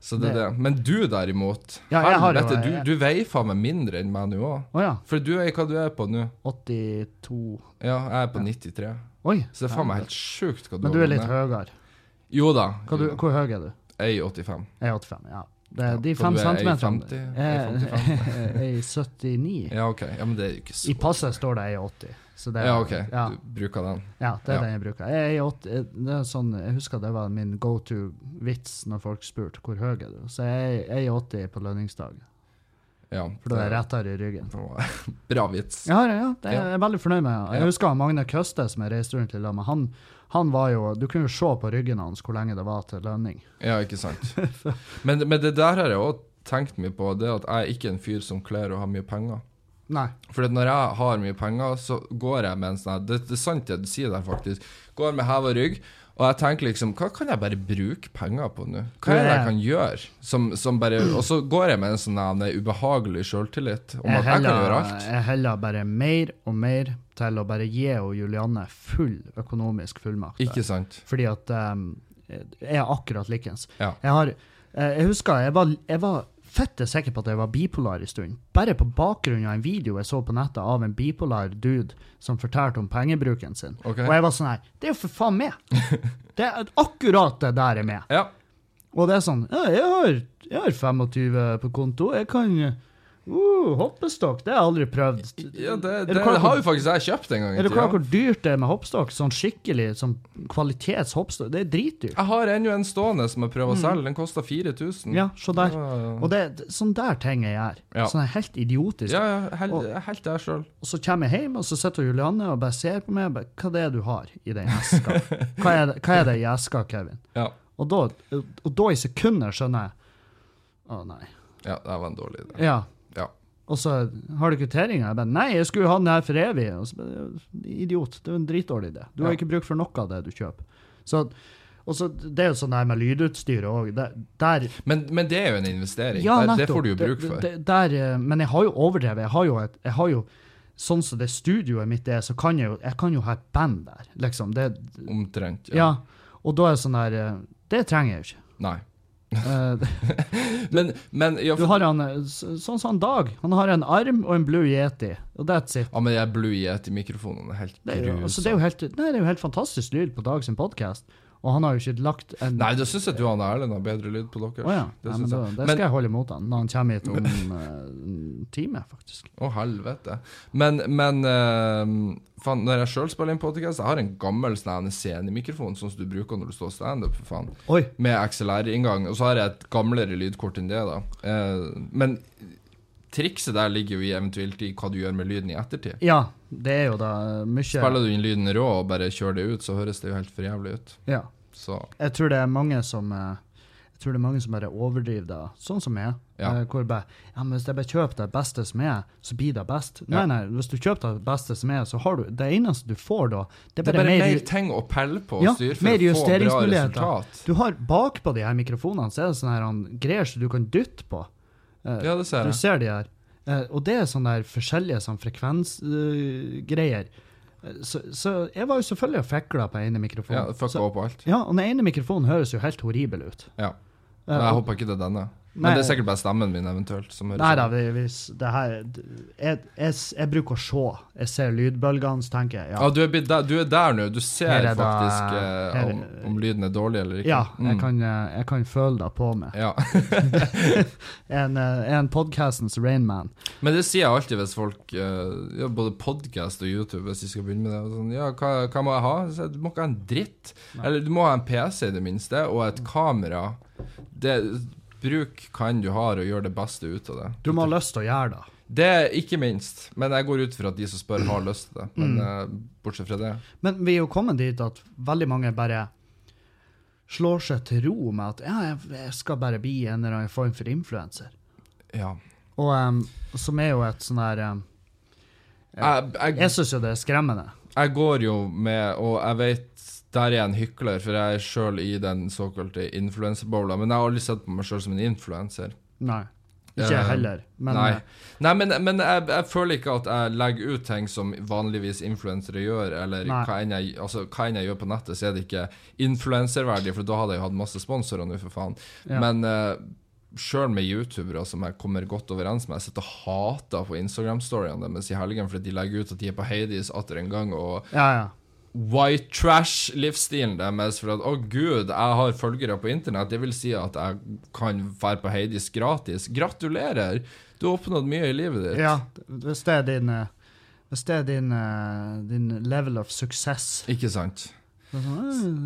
så det er det. Men du derimot, Ja, jeg har jo- helvete, jeg- du, du veier faen meg mindre enn meg nå òg. Å ja. For du er hva du er på nå. 82 Ja, jeg er på 93. Oi. Så det er faen meg helt sjukt hva du Men du er gått litt ned. høyere. Jo da. Hva du, hvor høy er du? Jeg er 85. Jeg er 85, ja. Det, Ja, de for fem du er centimeterne 1,50, Jeg er 79. Ja, OK. Ja, Men det er jo ikke så I passet står det 1,80. Så det, er- Ja, OK. ja, Du bruker den. ja, det er Ja. den jeg bruker. Jeg, er 80, det er sånn, jeg husker det var min go to-vits når folk spurte hvor høy er du Så jeg jeg er 80 på lønningsdag, Ja. for da er jeg rettere i ryggen. Bra vits. Ja, ja, ja. Det er Ja. jeg veldig fornøyd med. Jeg Ja. husker han Magne Køste, som jeg reiste rundt i lag med. Han, han var jo Du kunne jo se på ryggen hans hvor lenge det var til lønning. Ja, ikke sant. Men, men det der har jeg òg tenkt mye på, det at jeg er ikke en fyr som kler å ha mye penger. Nei. For at når jeg har mye penger, så går jeg med en sånn her- det, det er sant det du sier der, faktisk. Går med heva rygg. Og jeg tenker liksom, hva kan jeg bare bruke penger på nå? Hva er det jeg kan gjøre? Som, som bare, og så går jeg med en sånn her ubehagelig sjøltillit om Jeg at jeg kan heller, gjøre alt. jeg heller bare mer og mer til å bare gi og Julianne full økonomisk fullmakt. Ikke sant? Fordi at ehm, jeg er akkurat likens. Ja. Jeg har eh, Jeg husker jeg var, jeg var fette sikker på at jeg var bipolar en stund. Bare på bakgrunn av en video jeg så på nettet av en bipolar dude som fortalte om pengebruken sin. Ok. Og jeg var sånn her Det er jo for faen meg! Det er akkurat det der er med. Ja. Og det er sånn Ja, jeg har, jeg har 25 på konto. Jeg kan uh, Hoppestokk, det har jeg aldri prøvd. ja det, Er du det, klar over- har jo faktisk jeg kjøpt en gang i er du klar over tida. hvor dyrt det er med hoppstokk? Sånn skikkelig sånn kvalitetshoppstokk? Det er dritdyrt. Jeg har ennå en stående som jeg prøver å selge. Den kosta 4000. Mm. Ja, se der. Mm. Ja, ja, ja. Og det er sånn der ting jeg gjør. Ja. Sånn helt idiotisk. Ja, ja, helt, helt der sjøl. Og så kommer jeg hjem, og så sitter Julianne og bare ser på meg. og Bare, hva det er du har i den eska? Hva er, det- hva er det i eska, Kevin? Ja. Og da, og da i sekunder skjønner jeg Å, nei. ja, det var en dårlig idé. Ja. Ja. Og så har du kvitteringa. Jeg bare Nei, jeg skulle jo ha den her for evig. Og så, bare, idiot. Det er jo en dritdårlig idé. Du har Ja. ikke bruk for noe av det du kjøper. Så, og så, det er jo sånn der med lydutstyret òg. Der, der Men, men det er jo en investering. der, det får du jo Det- bruk for. det- der, eh, men jeg har jo overdrevet. Jeg har jo, et, jeg har jo Sånn som det studioet mitt er, så kan jeg jo, jeg kan jo ha et band der. Liksom. Det, Omtrent. ja. Og da er det sånn der eh, Det trenger jeg jo ikke. Nei. Eh, Men, men ja, Du har for, han, eh, så- sånn som han Dag. Han har en arm og en Blue Yeti, og that's it. ja, men jeg blue yet i mikrofonen. Det er helt Det er, jo, grusomt. altså, det, er jo helt, nei, det er jo helt fantastisk lyd på Dag sin podkast, og han har jo ikke lagt en Nei, da syns jeg at du og Erlend har bedre lyd på dere. Å ja. Det Nei, men synes da, jeg. det skal Men- jeg holde imot han når han kommer hit om eh, en time, faktisk. Å, helvete. Men, men eh, faen, når jeg sjøl spiller inn podkast, jeg har en gammel sånn her scenemikrofon, sånn som du bruker når du står standup, for faen. Oi. med XLR-inngang, og så har jeg et gamlere lydkort enn det, da. Eh, men trikset der ligger jo i eventuelt i hva du gjør med lyden i ettertid. Ja, det er jo da eh, mye Spiller du inn lyden rå og bare kjører det ut, så høres det jo helt for jævlig ut. Ja. Så Jeg tror det er mange som eh, jeg tror det er mange som bare overdriver det, sånn som jeg. Ja. Eh, Hvor bare, ja, men Hvis jeg bare kjøper det beste som er, så blir det best. Nei, Ja. nei, hvis du kjøper det beste som er, så har du Det eneste du får da, det er det er bare, bare mer mer ting å pelle på og Ja, styre mer for å få bra justeringsmuligheter. resultat. Du har bakpå de her mikrofonene, så er det sånne her han, greier som du kan dytte på. Eh, Ja, det ser Du jeg. ser de her. Eh, og det er sånne der forskjellige sånn frekvensgreier. Eh, så, så jeg var jo selvfølgelig og fikla på ene Ja, mikrofonen. fucka så, opp alt. ja, og den ene mikrofonen høres jo helt horribel ut. Eh, Ja. Men og- jeg håper ikke det er denne. Nei. Men det er sikkert bare stemmen min eventuelt som sånn. høres Nei da, ut. vi- hvis det her jeg, jeg, jeg bruker å se. Jeg ser lydbølgene, så tenker jeg Ja, ja. du er, blitt der, du er der nå. Her Du ser er det- faktisk eh, her- om, om lyden er dårlig eller ikke. Ja, jeg Mm. kan, eh, jeg kan føle det på meg. ja. En, eh, en podcastens Rainman. Men det sier jeg alltid hvis folk eh, ja, Både podcast og YouTube Hvis de skal begynne med det og sånn, Ja, hva, hva må jeg ha? Så jeg, du må ikke ha en dritt Nei. Eller du må ha en PC i det minste Og et kamera det, Bruk kan du har og gjør det beste ut av det Du må ha lyst til å gjøre det. Det er ikke minst. Men jeg går ut fra at de som spør, har lyst til det. Men eh, bortsett fra det Men vi er jo kommet dit at veldig mange bare slår seg til ro med at ja, jeg- jeg skal bare bli en eller annen form for influenser. Ja. Og em, som er jo et sånn her em, Jeg, jeg, Jeg syns jo det er skremmende. jeg går jo med, og jeg vet der er jeg en hykler, for jeg er sjøl i den såkalte influenserbowla. Men jeg har aldri sett på meg sjøl som en influenser. Nei. Ikke Eh, jeg heller. Men Nei. eh, Nei, men, men jeg, jeg føler ikke at jeg legger ut ting som vanligvis influensere gjør, eller Nei. hva enn, jeg, altså, hva enn jeg gjør på nettet, så er det ikke influenserverdig, for da hadde jeg jo hatt masse sponsorer nå, for faen. Ja. Men uh, sjøl med youtubere som jeg kommer godt overens med, jeg sitter og hater på Instagram-storyene deres i helgen fordi de legger ut at de er på Hades atter en gang, og ja, ja. white trash-livsstilen deres. For at å gud, jeg har følgere på internett. Det vil si at jeg kan være på Heidis gratis. Gratulerer! Du har oppnådd mye i livet ditt. ja. Hvis det er din eh, Hvis det er din, eh, din level of success Ikke sant? Det er sånn,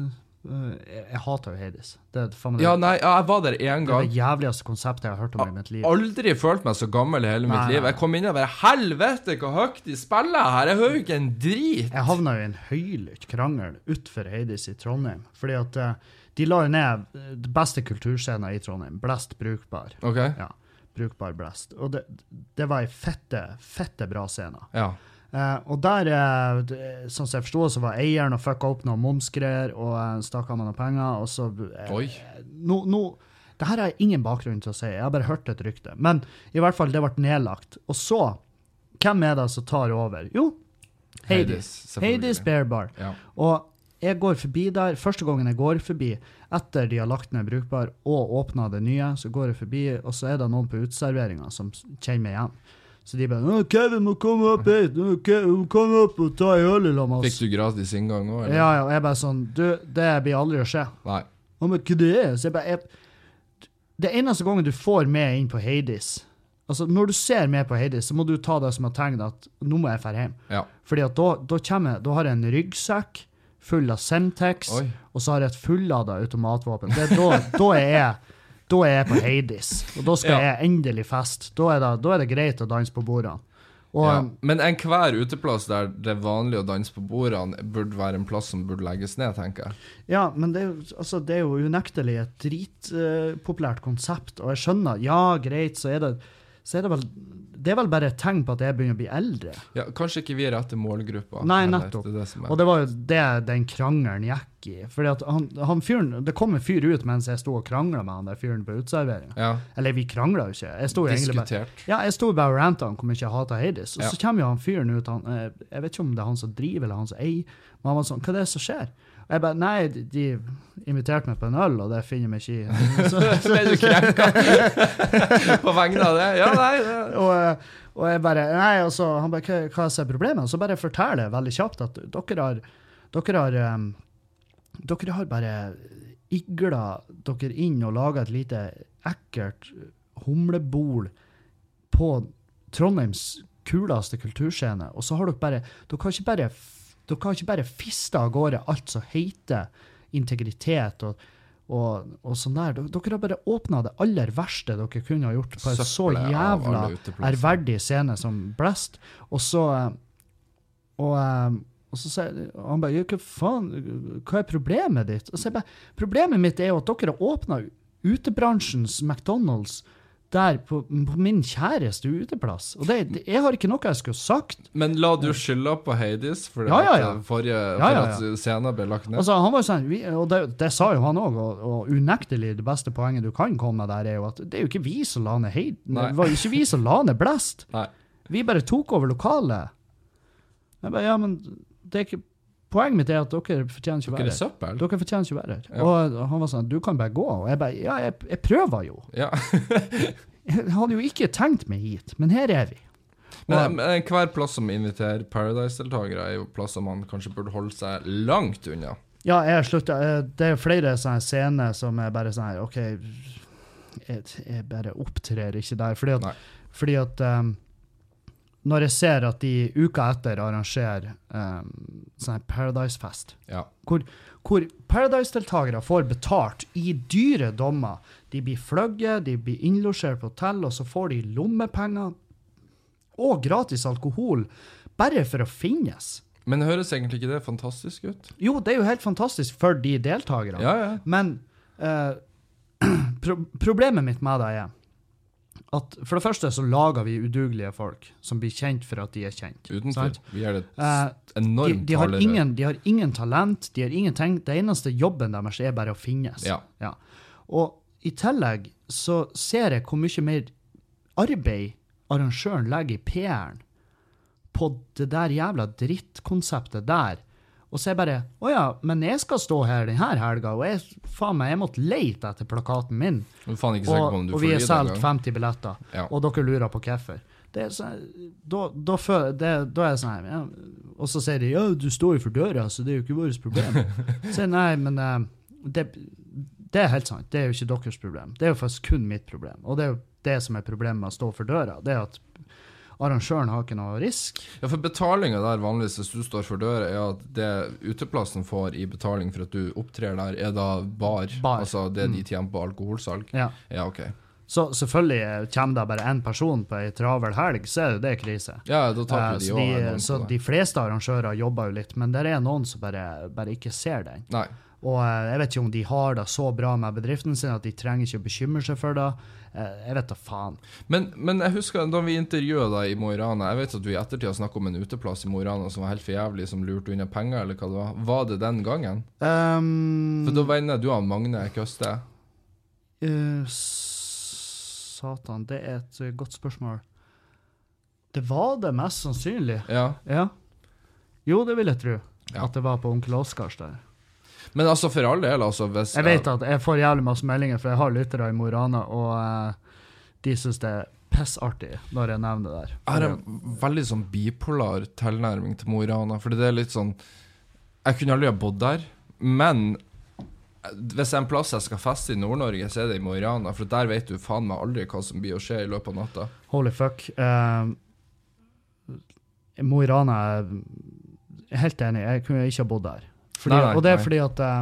eh, eh, jeg, jeg hater jo Hades. Det er faen meg det, Ja, nei, ja, jeg var der én det, er gang. det jævligste konseptet jeg har hørt om i mitt liv. Aldri følt meg så gammel i hele mitt Nei, nei. liv. Jeg kom inn og bare Helvete, hvor høyt de spiller her! Jeg hører jo ikke en drit! Jeg havna jo i en høylytt krangel utfor Heidis i Trondheim. Fordi at eh, de la jo ned eh, det beste kulturscenen i Trondheim. Blest brukbar. OK? Ja, brukbar blest. Og det, det var ei fette, fette bra scene. Ja. Eh, og der, eh, det- sånn som jeg forsto, så var eieren og fucka opp noen momsgreier og eh, stakk av meg noen penger, og så eh, Oi. nå, nå, det her har jeg ingen bakgrunn til å si, jeg har bare hørt et rykte. Men i hvert fall, det ble nedlagt. Og så, hvem er det som tar over? Jo, Hades. Hades, selvfølgelig. Hades Bear Bar. Ja. Og jeg går forbi der, første gangen jeg går forbi, etter de har lagt ned Brukbar og åpna det nye, så går jeg forbi, og så er det noen på uteserveringa som s- kjenner meg igjen. Så de bare «Å, 'Kevin må komme opp hit! Å, Kevin, Kom opp og ta en øl sammen med Fikk oss!' du gratis inngang òg, eller? Ja, ja, og jeg bare sånn Du, det blir aldri å skje. Nei. Ja, men hva det er? Så jeg bare, jeg, det eneste gangen du får med inn på Hades, altså når du ser med på Hades, så må du ta det som et tegn at nå må jeg fære hjem. Ja. Fordi at da, da kommer jeg, da har jeg en ryggsekk full av Semtex, Oi. og så har jeg et fullada automatvåpen. Det er da, da er jeg da er jeg på Hades, og da skal Ja. jeg endelig fest. Da er, det, da er det greit å danse på bordene. Og ja. Men enhver uteplass der det er vanlig å danse på bordene, burde være en plass som burde legges ned, tenker jeg. Ja, men det, er jo- altså, det er jo unektelig et dritpopulært konsept, og jeg skjønner, ja, greit, så er det, så er det vel Det er vel bare et tegn på at jeg begynner å bli eldre. Ja, kanskje ikke vi er rette målgruppa. Nei, heller. nettopp. Det er det som Og er. det var jo det den krangelen gikk i. Fordi at han, han fyren Det kom en fyr ut mens jeg sto og krangla med han der fyren på uteserveringa. Ja, Eller, vi krangla jo ikke. Jeg sto jo egentlig bare diskutert. Ja, jeg sto bare og ranta om hvor mye jeg hata Hades. Og Ja. så kommer jo han fyren ut, han, eh, jeg vet ikke om det er han som driver eller han som eier, men han var sånn, hva er det som skjer? Og jeg bare, nei, de- de inviterte meg på en øl, og det finner jeg meg ikke i. Så, Ble du krenka på vegne av det? Ja, nei. Det. og, eh, og jeg bare, nei, og så han bare, hva, hva er problemet? Og så bare forteller jeg veldig kjapt at dere har, dere har, em, dere har bare igla dere inn og laget et lite ekkelt humlebol på Trondheims kuleste kulturscene, og så har dere bare Dere har ikke bare, f- dere har ikke bare fista av gårde alt som heter integritet og, og, og sånn der. Dere, dere har bare åpna det aller verste dere kunne ha gjort på en så Søppelet av jævla alle uteplasser. ærverdig scene som Blast, og så eh, Og, eh, og så sier og han bare «Ja, Hva faen, hva er problemet ditt? Og så jeg bare, Problemet mitt er jo at dere har åpna utebransjens McDonald's der på, på min kjæreste uteplass. Og det, det, jeg har ikke noe jeg skulle sagt. Men la du skylda på Heidis for Ja, ja, ja. at eh, forrige Ja, for ja, at scenen ble lagt ned? Altså, han var jo sånn, vi, og det, det sa jo han òg, og, og unektelig det beste poenget du kan komme med der, er jo at det er jo ikke vi som la ned Heid. Nei. Det var jo ikke vi som la ned Blest. Nei. Vi bare tok over lokalet. Jeg bare, ja, men det er ikke, Poenget mitt er at dere fortjener ikke å Dere være er her. søppel? Dere fortjener ikke å være her. Ja. Og han var sånn, du kan bare gå. Og jeg bare, ja, jeg, jeg prøver jo. Ja. Jeg hadde jo ikke tenkt meg hit, men her er vi. Men, men enhver plass som inviterer Paradise-deltakere, er jo plass som man kanskje burde holde seg langt unna. Ja, jeg slutta. eh, Det er flere sånne scener som er bare sånn her OK, jeg, jeg bare opptrer ikke der. Fordi Nei. at, fordi at um, når jeg ser at de uka etter arrangerer um, sånn her Paradise-fest, Ja. hvor, hvor Paradise-deltakere får betalt i dyre dommer De blir fløyet, de blir innlosjert på hotell, og så får de lommepenger. og gratis alkohol bare for å finnes. Men høres egentlig ikke det fantastisk ut? Jo, det er jo helt fantastisk for de deltakerne. Ja, ja. Men eh, pro problemet mitt med det er at for det første så lager vi udugelige folk som blir kjent for at de er kjent. Uten tvil. sant? Vi er det Eh, de, enormt de, har farligere. ingen, de har ingen talent, de har ingenting. Det eneste jobben deres er bare å finnes. Ja. Ja. Og i tillegg så ser jeg hvor mye mer arbeid arrangøren legger i PR-en på det der jævla drittkonseptet der. Og så er jeg bare Å ja, men jeg skal stå her denne helga, og jeg, faen meg, jeg måtte leite etter plakaten min. Du er faen ikke sikker Og, på om du og får vi lyd har solgt engang. 50 billetter, Ja. og dere lurer på hvorfor. Det er sånn- Da, da, føler- det, da er jeg sånn her, ja. Og så sier de ja, du står jo for døra, så det er jo ikke vårt problem. Så sier jeg, nei, men eh, det, det er helt sant. Det er jo ikke deres problem. Det er jo faktisk kun mitt problem. Og det er jo det som er problemet med å stå for døra. Det er at arrangøren har ikke noe risk. Ja, for betalinga der vanligvis, hvis du står for døra, er at det uteplassen får i betaling for at du opptrer der, er da bar. Bar. Mm. Altså det de tjener på alkoholsalg. Ja. Ja, OK. Så selvfølgelig kommer det bare én person på ei travel helg, så er jo det krise. Ja, da taper Eh, de så òg. de, så de fleste arrangører jobber jo litt, men det er noen som bare, bare ikke ser den. Nei. Og eh, jeg vet ikke om de har det så bra med bedriften sin at de trenger ikke å bekymre seg for det. Eh, Jeg vet da faen. Men, men jeg husker da vi intervjua deg i Mo i Rana Jeg vet at du i ettertid har snakka om en uteplass i Mo i Rana som var helt for jævlig, som lurte unna penger, eller hva det var. Var det den gangen? Um, For da vender du av Magne Køste. eh, satan, det er et eh, godt spørsmål. Det var det mest sannsynlig. Ja. Ja. Jo, det vil jeg tro. Ja. At det var på onkel Oscars der. Men altså, for all del, altså hvis Jeg vet at jeg får jævlig masse meldinger, for jeg har lyttere i Mo i Rana, og eh, de syns det er pissartig når jeg nevner det der. Jeg har en veldig sånn bipolar tilnærming til Mo i Rana. Fordi det er litt sånn Jeg kunne aldri ha bodd der, men hvis det er en plass jeg skal feste i Nord-Norge, så er det i Mo i Rana. For der vet du faen meg aldri hva som blir å skje i løpet av natta. Holy fuck. Eh, Mo i Rana er jeg er helt enig, jeg kunne ikke ha bodd der. Fordi, Nei, nei, og det er nei. fordi at eh,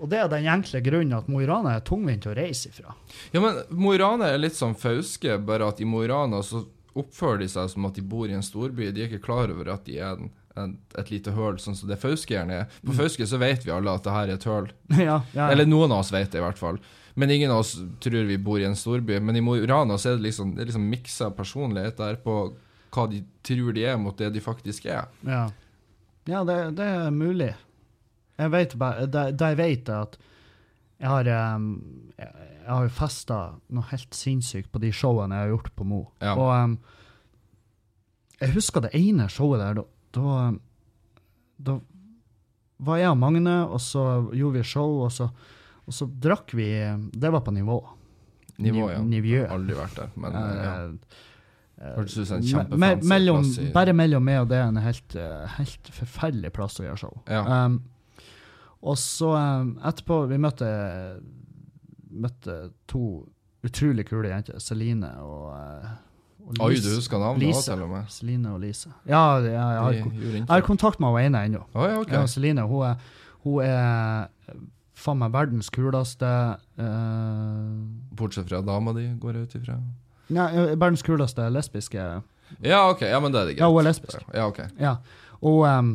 Og det er den enkle grunnen at Mo i Rana er tungvint å reise ifra. Ja, men Mo i Rana er litt som Fauske, bare at i Mo i Rana så oppfører de seg som at de bor i en storby. De er ikke klar over at de er en, en, et lite høl, sånn som det Fauske gjerne er. Mm. På Fauske så vet vi alle at det her er et høl. ja, ja, Eller noen av oss vet det, i hvert fall. Men ingen av oss tror vi bor i en storby. Men i Mo i Rana så er det liksom, det er liksom miksa personlighet der på hva de tror de er, mot det de faktisk er. ja. ja det, det er mulig. Jeg vet bare Det det jeg vet, er at jeg har, eh, jeg jeg har jo festa noe helt sinnssykt på de showene jeg har gjort på Mo. Ja. Og um, jeg husker det ene showet der, da, da, um, da var jeg og Magne, og så gjorde vi show, og så, og så drakk vi Det var på nivå. Nivå, ja. Nivå. Aldri vært der, men ja. Eh, Hørtes ut som en me- me- kjempefancy mellom, plass i bare mellom meg og det er en helt, eh, helt forferdelig plass å gjøre show. Ja. Um, og så um, etterpå Vi møtte, møtte to utrolig kule jenter, Celine og, eh, og Oi, Lise. du husker navnet òg, Lise. til og med. Celine og Lise. Ja, det- ja jeg, har, De jeg gjorde har inntrykk. kontakt med hun ene ennå. Å, ja, ok. Ja, Celine hun er, hun er eh, faen meg verdens kuleste eh, Bortsett fra dama di, går jeg ut ifra. Nei, eh, verdens kuleste lesbiske Ja, ok. Ja, men det er det Ja, greit. hun er lesbisk. Ja, ok. Ja, og ehm,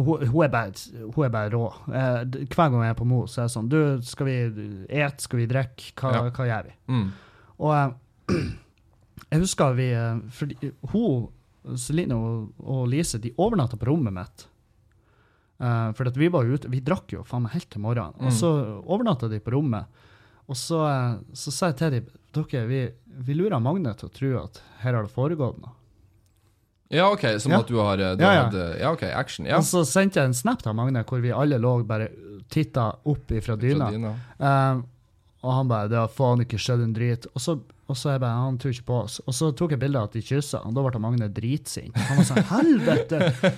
og hun, hun, er bare, hun er bare rå. Eh, d- hver gang jeg er på Mo, så er det sånn Du, skal vi et, skal vi drikke? Hva, Ja. hva gjør vi? Mm. Og ehm, jeg husker vi eh, Fordi hun, Celine og, og Lise, de overnatta på rommet mitt. Eh, for at vi var jo ute, vi drakk jo faen meg helt til morgenen. Mm. Og så overnatta de på rommet. Og så, eh, så sa jeg til dem dere, vi, vi lurer Magne til å tro at her har det foregått noe. Ja, ok, som Ja. at du har eh, du Ja, ja. Hadde, ja, ok, action. Ja. Og så sendte jeg en snap til Magne hvor vi alle lå bare titta opp ifra dyna. Fra dyna. Um, og han bare 'Det har faen ikke skjedd en drit'. Og så, og så jeg bare 'Han tror ikke på oss'. Og så tok jeg bilde av at de kyssa, og da ble Magne dritsint. Han var sånn 'Helvete!'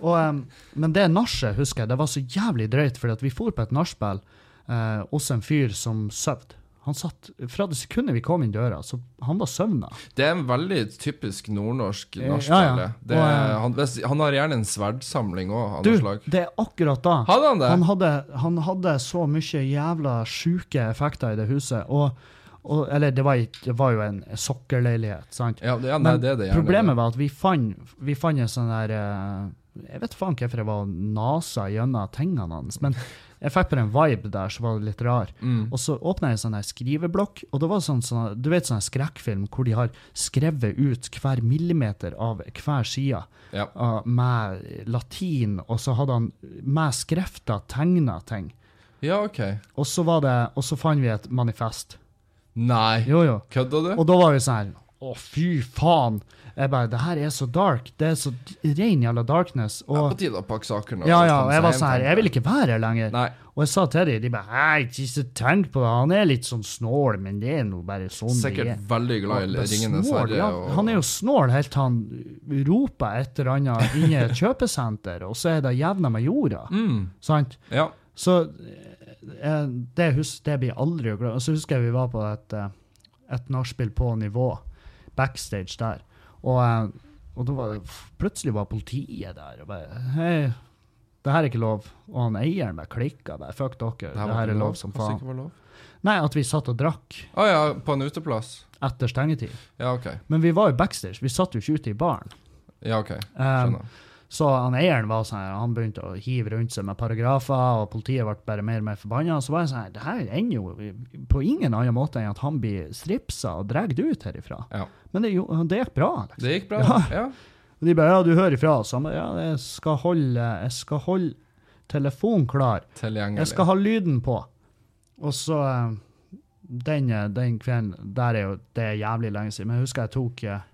og, um, men det nachet, husker jeg, det var så jævlig drøyt, fordi at vi for på et nachspiel eh, hos en fyr som sov. Han satt, Fra det sekundet vi kom inn døra, så han var søvna. Det er en veldig typisk nordnorsk Eh, ja, nachspiel. ja. Det er- Og, eh, han, hvis- han har gjerne en sverdsamling òg, av Du, noe slag. det er akkurat da. Hadde han det? Han hadde, han hadde så mye jævla sjuke effekter i det huset. Og, Og, eller det var, ikke- det var jo en sokkerleilighet, sant? Ja, det, ja, nei, Men det er det gjerne. problemet var at vi fant, vi fant en sånn der eh, Jeg vet faen hvorfor jeg var nasa gjennom tingene hans, men jeg fikk bare en vibe der som var litt rar. Mm. Og så åpna jeg en sånn her skriveblokk, og det var sånn, sånn du vet sånn her skrekkfilm hvor de har skrevet ut hver millimeter av hver side Ja. eh, med latin, og så hadde han med skrifter tegna ting. ja, OK. Og så var det, og så fant vi et manifest. Nei, Jo, jo. kødda du? Og da var vi sånn her Å, fy faen! Jeg bare Det her er så dark. Det er så rein jævla darkness. Det er Og på tide å pakke sakene. altså, ja, ja, og jeg var sånn her Jeg her vil ikke være her lenger. Nei. Og jeg sa til dem, de bare Hei, ikke tenk på det, han er litt sånn snål, men det er nå bare sånn det Sikkert er. veldig glad i Og Ringenes snål, herre. ja. og- Han er jo snål helt til han roper et eller annet inne i et kjøpesenter, og så er det jevna med jorda. mm, Sant? Ja. Så eh, det, hus, det blir jeg aldri å glemme. Og så husker jeg vi var på et, eh, et nachspiel på nivå, backstage der. Og, eh, og da var det, plutselig var politiet der og bare Hei, det her er ikke lov. Og han eieren bare klikka. Bare, Fuck dere, det her, var ikke er lov som Kanskje faen. ikke var lov. Nei, at vi satt og drakk Å ja, på en uteplass? etter stengetid. Ja, OK. Men vi var jo backstage, vi satt jo ikke ute i baren. Ja, ok. Eh, Skjønner. Så han eieren var sånn, her, han begynte å hive rundt seg med paragrafer, og politiet ble bare mer og mer forbanna. Så var jeg sånn her, det her ender jo på ingen annen måte enn at han blir stripsa og dratt ut herifra. Ja. Men det, jo- det gikk bra. Liksom. Det gikk bra? Ja. Og de bare ja, du hører ifra. Så han bare ja, jeg skal holde, jeg skal holde telefonen klar. Tilgjengelig. Jeg skal ha lyden på. Og så eh, den, eh, den kvelden Der er jo det er jævlig lenge siden, men jeg husker jeg tok eh,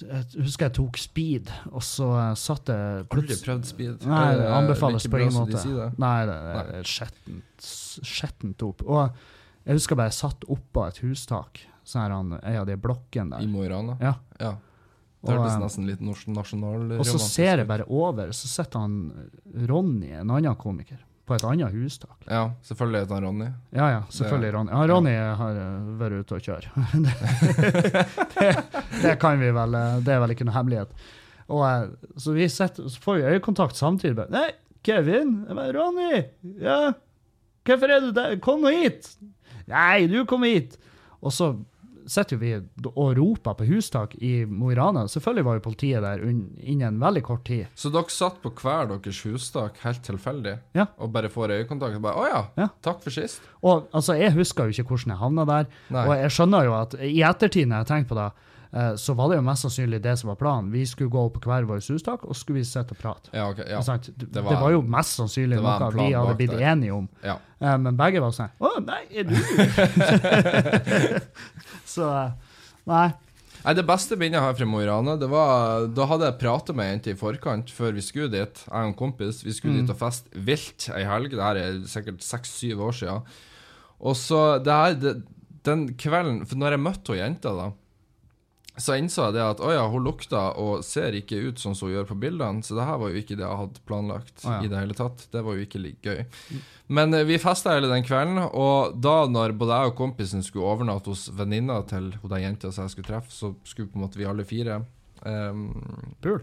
jeg husker jeg tok speed, og så eh, satt jeg Aldri plutselig- prøvd speed. Nei, det Eh, anbefales like på bra ingen som de måte. sier det. Nei, det det er skjettent, skjettent opp. Og jeg husker bare jeg satt oppå et hustak, sånn her han, ei av de blokkene I der. Mo i Rana? Ja. ja. Det Og, hørtes eh, nesten litt nors- nasjonalromantisk og så ser jeg bare over, så sitter han Ronny, en annen komiker, på et annet hustak. Ja, selvfølgelig heter han Ronny. Ja, ja, selvfølgelig Ronny. Ja, Ronny har eh, vært ute og kjørt. det, det kan vi vel, eh, det er vel ikke noe hemmelighet. Og, eh, så vi setter, så får vi øyekontakt samtidig. Bare, Nei, Kevin! Jeg bare, Ronny! Ja, hvorfor er du der? Kom nå hit! Nei, du kom hit! Og så sitter jo vi og roper på hustak i Mo i Rana. Selvfølgelig var jo politiet der unn- innen veldig kort tid. Så dere satt på hver deres hustak helt tilfeldig Ja. og bare får øyekontakt? Og bare 'Å ja, Ja. takk for sist'. Og altså, jeg husker jo ikke hvordan jeg havna der. Nei. Og jeg skjønner jo at i ettertid, når jeg tenker på det, eh, så var det jo mest sannsynlig det som var planen. Vi skulle gå opp på hver vår hustak, og skulle vi sitte og prate. Ja, ok. Ikke Ja. sant? Det, Det var- var, jo mest sannsynlig det var en noe plan vi hadde bak blitt der. enige om. ja. Eh, Men begge var sånn Å, nei, er du Så eh, Nei. Nei, Det beste minnet jeg har fra Mo i Rana, det var Da hadde jeg pratet med ei jente i forkant, før vi skulle dit. Jeg og en kompis. Vi Mm. skulle dit og feste vilt ei helg. Det her er sikkert seks-syv år siden. Og så det her, det, Den kvelden For når jeg møtte hun jenta, da, så innså jeg det at å ja, hun lukta og ser ikke ut sånn som hun gjør på bildene, så det her var jo ikke det jeg hadde Å, planlagt ja. i det hele tatt. Det var jo ikke like gøy. Men eh, vi festa hele den kvelden, og da når både jeg og kompisen skulle overnatte hos venninna til hun der jenta som jeg skulle treffe, så skulle på en måte vi alle fire ehm, Pul.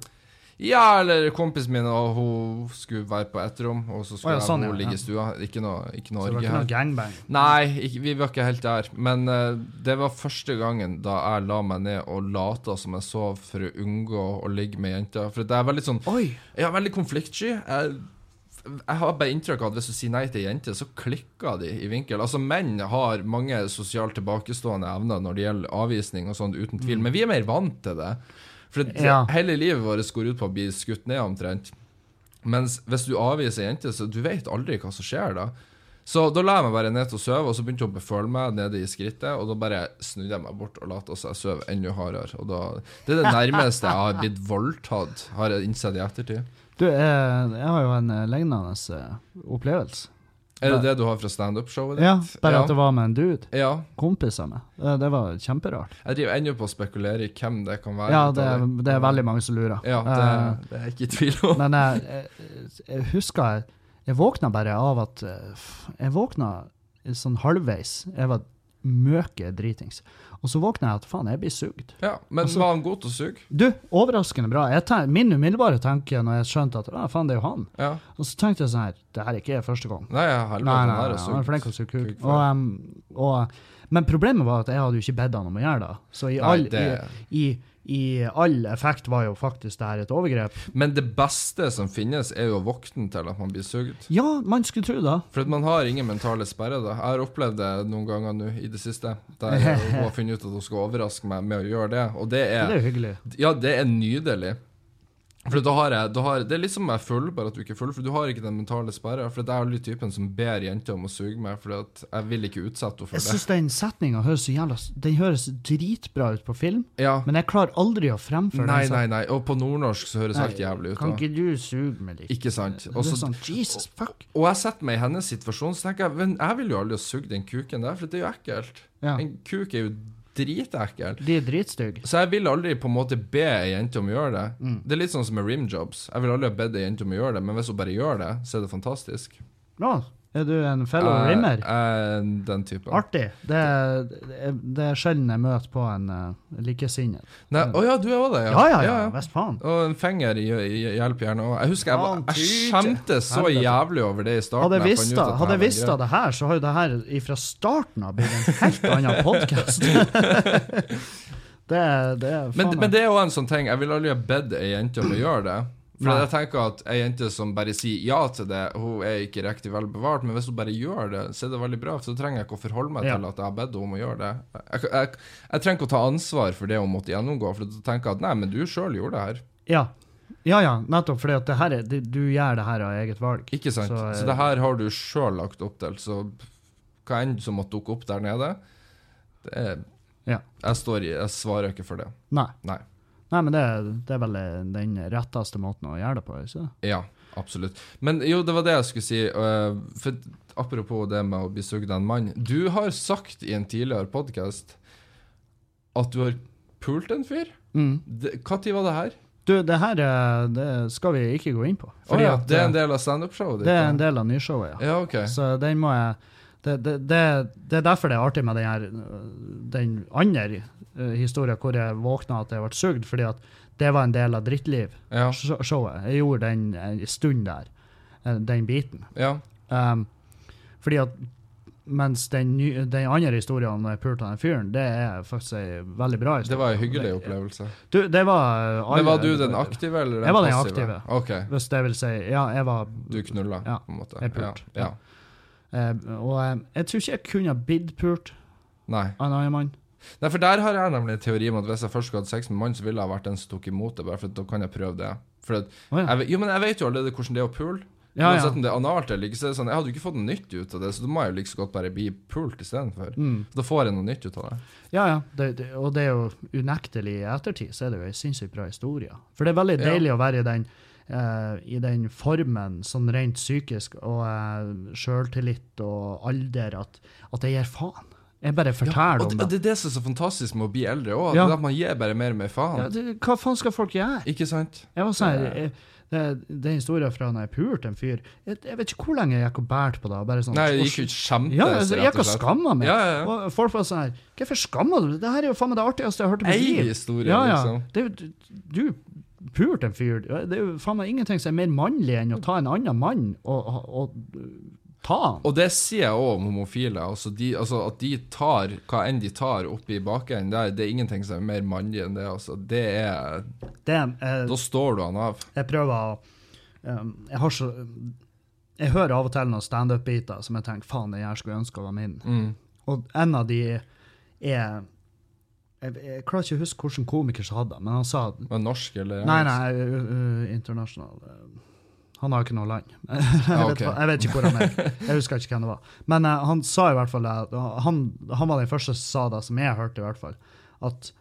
ja, eller kompisen min og hun skulle være på ett rom, og så Å, skulle ja, sånn, jeg og hun ja, ligge ja. i stua. Ikke noe, ikke noe Så det var orgie ikke noe her. gangbang. Nei, ikke, vi var ikke helt der. Men eh, det var første gangen da jeg la meg ned og lata som jeg sov for å unngå å ligge med jenter. For det er veldig sånn Oi! Jeg er veldig konfliktsky. Jeg, jeg har bare inntrykk av at hvis du sier nei til jenter, så klikker de i vinkel. Altså, menn har mange sosialt tilbakestående evner når det gjelder avvisning og sånt, uten tvil. Men vi er mer vant til det. For det, Ja. hele livet vårt går ut på å bli skutt ned omtrent. Mens hvis du avviser jenter, så du vet aldri hva som skjer da. Så da la jeg meg bare ned til å sove, og så begynte hun å beføle meg nede i skrittet, og da bare snudde jeg meg bort og lot oss jeg sove enda hardere. Og da, det er det nærmeste jeg har blitt voldtatt, har jeg innsett i ettertid. Du, eh, jeg har jo en eh, lignende eh, opplevelse. Er det det du har fra standup-showet ditt? Ja, bare ja. at det var med en dude. Ja. Kompis av meg. Eh, Det var kjemperart. Jeg driver ennå på å spekulere i hvem det kan være. Ja, ut av det er, det er veldig mange som lurer. Ja, det, det er jeg ikke i tvil Eh, om. men jeg, jeg, jeg husker jeg, jeg våkna bare av at eh, f- Jeg våkna sånn halvveis. Jeg var møke dritings. Og så våkner jeg at faen, jeg blir sugd. Ja, men Altså- var han god til å suge? Du, overraskende bra. Jeg ten, min umiddelbare tanke når jeg skjønte at ah, faen, det er jo han, Ja. og så tenkte jeg sånn her, det her er ikke første gang. Nei, ja, helvete, Nei, nei, han nei, her er han er flink til å suge Kuk kuk. for Og, um, og, men problemet var at jeg hadde jo ikke bedt han om å gjøre det. Så i Nei, all, det- i, i, i all effekt var jo faktisk det her et overgrep. Men det beste som finnes, er jo å våkne til at man blir sugd. Ja, man skulle tro det. For at man har ingen mentale sperre. da. Jeg har opplevd det noen ganger nå i det siste. Der hun har funnet ut at hun skal overraske meg med å gjøre det. Og det Det er er, jo hyggelig. ja, det er nydelig. For da har jeg, da har, Det er litt som om jeg er full, bare at du ikke er full. For du har ikke den mentale sperra. For jeg er aldri typen som ber jenter om å suge meg, for jeg vil ikke utsette henne Jeg for det. syns den setninga høres så jævla Den høres dritbra ut på film, Ja. men jeg klarer aldri å fremføre Nei, den. nei, nei. Og på nordnorsk så høres alt jævlig ut. Kan da. ikke du suge meg litt? Ikke sant? Det Og er så sånn, Jesus fuck. Og jeg setter meg i hennes situasjon, så tenker jeg men jeg vil jo aldri ha sugd den kuken der, for det er jo ekkelt. Ja. En kuk er jo dritekkel. De er dritstygge. Så jeg vil aldri på en måte be ei jente om å gjøre det. Mm. Det er litt sånn som med rimjobs. Jeg vil aldri ha bedt ei jente om å gjøre det, men hvis hun bare gjør det, så er det fantastisk. Nå, er du en fellow Jeg- rimmer? jeg er den typen. Artig. Det er, det er sjelden jeg møter på en uh, likesinnet. Nei, Å ja, du er òg det? Ja, ja, ja. Visst faen. Og en finger i, i, hjelper gjerne. Og jeg husker jeg, var- jeg Faen, skjemte så Helvete. jævlig over det i starten. Hadde jeg fant visst ut det, at det hadde her jeg var visst en det her, så har jo det her fra starten av blitt en helt annen podkast. det, er- det er Men, faen men det er jo en sånn ting Jeg vil aldri ha bedt ei jente om å gjøre det. For Nei. jeg tenker at ei jente som bare sier ja til det, hun er ikke riktig vel bevart. Men hvis hun bare gjør det, så er det veldig bra. For så trenger jeg ikke å forholde meg Ja. til at jeg har bedt henne om å gjøre det. Jeg, jeg, jeg trenger ikke å ta ansvar for det hun måtte gjennomgå. For da tenker jeg at nei, men du sjøl gjorde det her. Ja. ja, ja, nettopp. For det her er, du, du gjør det her av eget valg. Ikke sant? Så, Så, eh, det her har du sjøl lagt opp til. Så hva enn som måtte dukke opp der nede, det er, Ja. jeg, står i, jeg svarer ikke for det. Nei. Nei. Nei, men det, er- det er vel den retteste måten å gjøre det på. Ikke? det? Ja, absolutt. Men jo, det var det jeg skulle si. øh, for apropos det med å bli sugd av en mann. Du har sagt i en tidligere podkast at du har pult en fyr. Mm. Det- Hva tid var det her? Du, det her eh, det skal vi ikke gå inn på. Å ja, at, det er en eh, del av standup-showet ditt? det er en da? del av nyshowet, ja. Ja, OK. Så den må jeg det, det, det, det er derfor det er artig med den, her, øh, den andre øh, historien hvor jeg våkna at jeg ble sugd, fordi at det var en del av drittliv-showet. Ja. Jeg gjorde den en stund der, eh, den biten. ja. Um, fordi at mens den, ny- den andre historien om når jeg pulte den fyren, det er faktisk ei veldig bra Det historie. var en hyggelig opplevelse. Du, det var, øh, alle- Men var du den aktive eller den Jeg var den aktive. passive? OK. Hvis det vil si Ja, jeg var Du knulla, Ja, på en måte. jeg pulte. Ja. ja. eh, Og eh, jeg tror ikke jeg kunne ha blitt pult Nei. av en annen mann. Nei, for der har jeg nemlig en teori om at hvis jeg først skulle hatt sex med en mann, så ville jeg vært den som tok imot det, bare for at da kan jeg prøve det. For at, Å, ja. jeg, ve- jo, men jeg vet jo allerede hvordan det er å pule. Ja, ja. Uansett om det er analt eller ikke, så er det sånn, jeg hadde jo ikke fått noe nytt ut av det, så da må jeg jo like så godt bare bli pult istedenfor. Mm. Da får jeg noe nytt ut av det. Ja, ja. Det, det, og det er jo unektelig i ettertid, så er det jo en sinnssykt bra historie. For det er veldig Ja. deilig å være i den, eh, i den formen, sånn rent psykisk, og eh, sjøltillit og alder, at, at jeg gir faen. Jeg bare forteller Og det, om det. det er det som er så fantastisk med å bli eldre òg, Ja. at man gir bare mer og mer Ja, faen. det. Hva faen skal folk gjøre? Ikke sant? Jeg var sånn, her, jeg, det, den historien fra når jeg pulte en fyr jeg, jeg vet ikke hvor lenge jeg gikk og bærte på det. Bare sånn, Nei, det gikk jo kjempes, Ja, altså, jeg rett gikk og og slett. skamma meg. Ja, ja, ja. Og folk var sånn her Hvorfor skammer du deg? Det her er jo faen meg det artigste jeg har hørt i mitt Ei liv. historie, Ja, ja. liksom. Det er jo, du du pulte en fyr. Det er jo faen meg ingenting som er mer mannlig enn å ta en annen mann og, og, og ta han. Og det sier jeg òg om homofile. Altså, de, altså At de tar hva enn de tar oppi bakenden der, det er ingenting som er mer mannlig enn det. altså Det er Det, eh, Da står du han av. jeg prøver å eh, Jeg har så Jeg hører av og til noen standup-biter som jeg tenker faen, den her skulle jeg ønske var min. Mm. Og en av de er jeg, jeg klarer ikke å huske hvilken komiker som hadde det, men han sa at Men norsk eller Nei, engelsk? nei, ø- ø- internasjonal. Han har jo ikke noe land. jeg, Ah, vet, ok. hva- jeg vet ikke hvor han er. Jeg husker ikke hvem det var. Men eh, han sa i hvert fall at- han, han var den første som sa det, som jeg hørte i hvert fall, at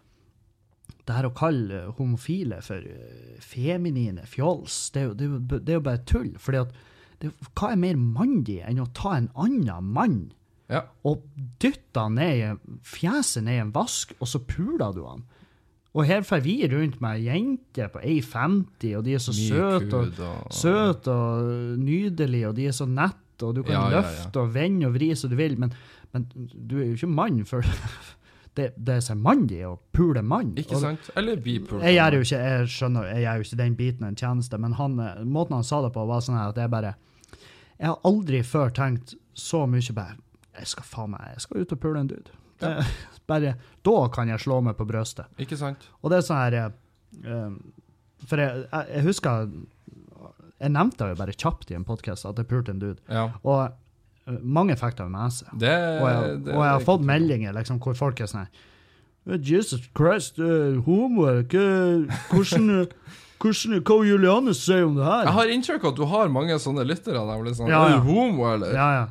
det her å kalle homofile for eh, feminine fjols, det er jo, det er jo, b- det er jo bare tull. Fordi at det, hva er mer mandig enn å ta en annen mann Ja. og dytte han ned i fjeset ned i en vask, og så puler du han? Og her får vi rundt med jenter på 1,50, og de er så Mye søte og, kud og- søt og nydelige, og de er så nett, og du kan Ja, ja, ja. løfte og vende og vri som du vil, men, men du er jo ikke mann før det, det er seg mann i å pule mann. Ikke Og- sant? Eller bipult. Jeg gjør jo ikke, jeg skjønner, jeg gjør jo ikke den biten en tjeneste, men han, eh, måten han sa det på, var sånn her at jeg bare Jeg har aldri før tenkt så mye bare Jeg skal faen meg, jeg skal ut og pule en dude. Ja. Det- Bare da kan jeg slå meg på brøstet. Ikke sant? Og det er sånn her eh, eh, For jeg, jeg, jeg husker Jeg nevnte det jo bare kjapt i en podkast at jeg pulte en dude, Ja. og eh, mange fikk det med seg. Det, Og jeg, Eh, det, og jeg har det- fått meldinger liksom, hvor folk er sånn her, Jesus Christ, eh, homo er ikke Hvordan eh, hvordan- Hva Juliane sier om det her? Jeg har inntrykk av at du har mange sånne lyttere. Nemlig sånn, Ja, Er ja. du homo, eller? Ja, ja.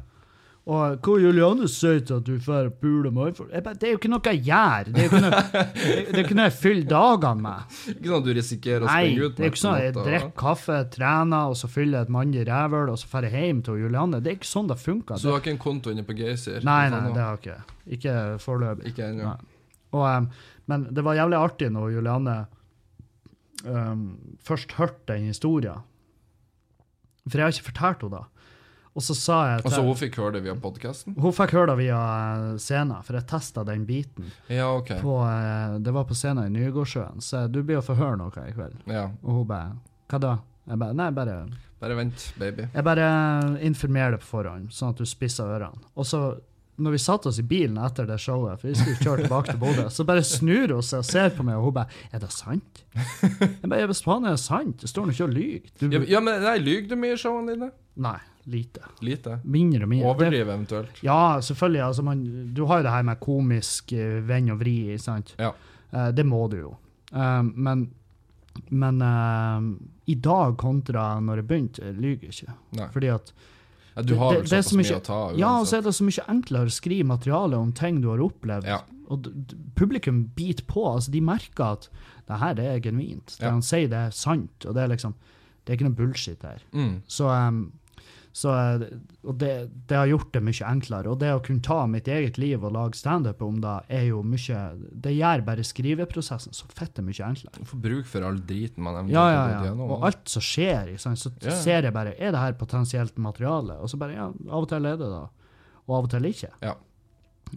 Og hva Juliane sier til at du får pule mannfolk Jeg bare, Det er jo ikke noe jeg gjør! Det er jo ikke noe, det er jo ikke noe jeg fyller dagene med. Ikke sånn at du risikerer å Nei, springe ut det er jo ikke sånn at jeg drikker kaffe, trener, og så fyller jeg et mannlig rævhøl, og så drar jeg hjem til Juliane. Det er ikke sånn det funker. Så du har ikke en konto inne på Geysir? Nei, Sånn, nei, og- det har jeg ikke. Ikke foreløpig. Ikke ennå. Nei. Og, em, men det var jævlig artig når Julianne em, først hørte den historien. For jeg har ikke fortalt henne det. Og så sa jeg til Altså, hun fikk høre det via podkasten? Hun fikk høre det via eh, scenen, for jeg testa den biten. Ja, OK. På, eh, det var på scenen i Nygårdsjøen, så du blir å få høre noe i kveld. Ja. Og hun bare Hva da? Jeg bare Nei, bare Bare vent, baby. Jeg bare informerer deg på forhånd, sånn at du spisser ørene. Og så, når vi satte oss i bilen etter det showet, for vi skulle kjøre tilbake til Bodø, så bare snur hun seg og ser på meg, og hun bare Er det sant? Jeg bare Hvis faen er det sant? Det står nå ikke og lyver. Ja, Du- ja men nei, lyver du mye i showene dine? Nei. Lite. Lite. Mindre og mindre. Det- Overdriv eventuelt. Ja, selvfølgelig. Altså, man, du har jo det her med komisk eh, vend og vri, sant? Ja. Eh, det må du jo. Eh, men men eh, i dag kontra når jeg begynte, jeg lyver ikke. Nei. Fordi at Ja, du har Det- vel det er såpass så mye mye- å ta Ja, og så uansett. er det så mye enklere å skrive materiale om ting du har opplevd. Ja. Og d- d- publikum biter på. altså De merker at det her det er genuint. Det Ja. han sier, det er sant. Og det er liksom Det er ikke noe bullshit her. Mm. Så, um, så uh, Og det, det har gjort det mye enklere. Og det å kunne ta mitt eget liv og lage standup om det, er jo mye Det gjør bare skriveprosessen så fette mye enklere. Du får bruk for all driten man eventuelt Ja, ja, har gått ja. gjennom. Og alt som skjer, ikke sant, så Ja. ser jeg bare Er det her potensielt materiale? Og så bare Ja, av og til er det det, og av og til ikke. Ja.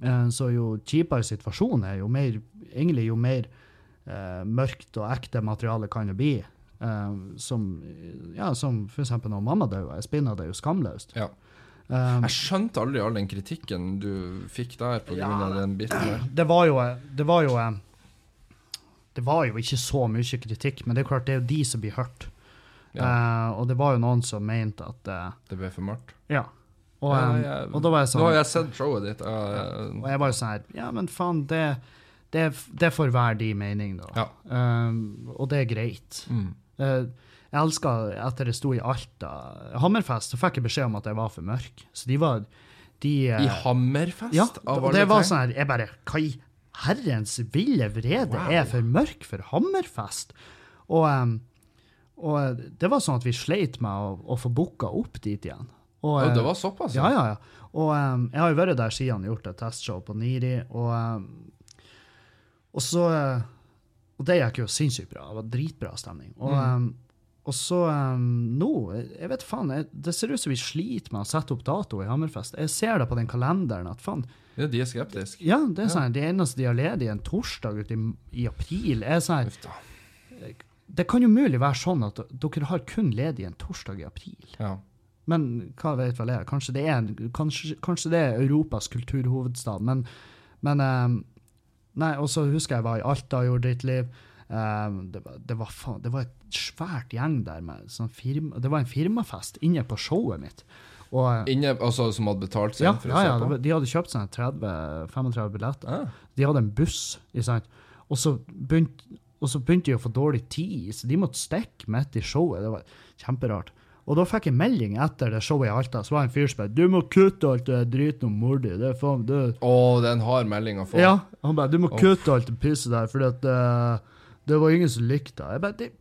Eh, Så jo kjipere situasjonen er, jo mer Egentlig jo mer eh, mørkt og ekte materiale kan det bli. Eh, som ja, som for eksempel når mamma døde. Jeg spinna det jo skamløst. Ja. Eh, Jeg skjønte aldri all den kritikken du fikk der på grunn av den biten der. det var jo Det var jo eh, Det var jo ikke så mye kritikk, men det er klart det er jo de som blir hørt. Eh, og det var jo noen som mente at eh, Det ble for mørkt. Ja. Og, Ja, eh, jeg- og da var jeg Nå sånn har jeg sett showet ditt. eh, Jeg, Og jeg var jo sånn her Ja, men faen, det, det, det får være de mening, da. Ja. Um, og det er greit. mm. Eh, jeg elska etter jeg sto i Alta Hammerfest, så fikk jeg beskjed om at jeg var for mørk. Så de var de, eh, I Hammerfest? ja, av og alle det var ting? sånn her Jeg bare Hva i herrens ville vrede Wow. er for mørk for Hammerfest? Og, em, og det var sånn at vi sleit med å, å få booka opp dit igjen. Og, Ja, eh, det var såpass? ja, ja, ja. Og em, jeg har jo vært der siden og gjort et testshow på Niri, og, em, og så eh, Og det gikk jo sinnssykt bra. Det var dritbra stemning. Og, em, og så em, nå jeg- Jeg vet faen, jeg, det ser ut som vi sliter med å sette opp dato i Hammerfest. Jeg ser det på den kalenderen at faen, Ja, de er skeptiske. ja, det er sånn, de eneste de har ledig en torsdag ute i, i april, er sånn Uff da. Det kan jo mulig være sånn at dere har kun ledig en torsdag i april. Ja. Men hva vet vel jeg? Kanskje det er, en- kanskje, kanskje det er Europas kulturhovedstad. Men, men eh, Nei, og så husker jeg jeg var i Alta og gjorde ditt liv. Eh, det, var, det, var faen, det var et svært gjeng der. Med, sånn firma, det var en firmafest inne på showet mitt. Og, Inne, altså, som hadde betalt seg ja, inn for ja, ja, å se det på? var- de hadde kjøpt seg 30-35 billetter. Ah, De hadde en buss, ikke sant? Og så begynte og så begynte de å få dårlig tid, så de måtte stikke midt i showet. Det var kjemperart. Og da fikk jeg melding etter det showet i Alta. Så var det en fyr som bare 'Du må kutte alt det driten om mor di'. Det er faen det. Å, det er en hard melding å få. Ja, han bare 'Du må Åh. kutte alt det pisset der, fordi at eh, det var ingen som likte det'. Jeg bare det,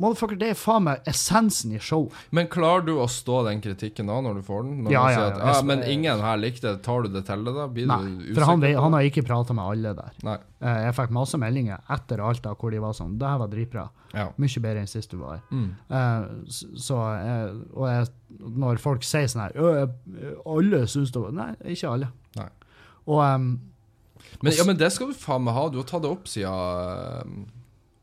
Motherfucker, det er faen meg essensen i show. Men klarer du å stå den kritikken da, når du får den? Når Ja, ja, man sier ja. at, ah, men ingen her likte det. Tar du det til deg, da? Blir Nei, du for han, usikker vet- på han det? har ikke prata med alle der. Nei. Eh, Jeg fikk masse meldinger etter alt da, hvor de var sånn Det her var dritbra. Ja. Mye bedre enn sist du var her. Mm. Eh, s- Så, eh, og jeg, når folk sier sånn her «Ø, jeg- Alle syns det var Nei, ikke alle. Nei. Og ehm, em, Men, ja, men det skal du faen meg ha. Du har tatt det opp siden eh,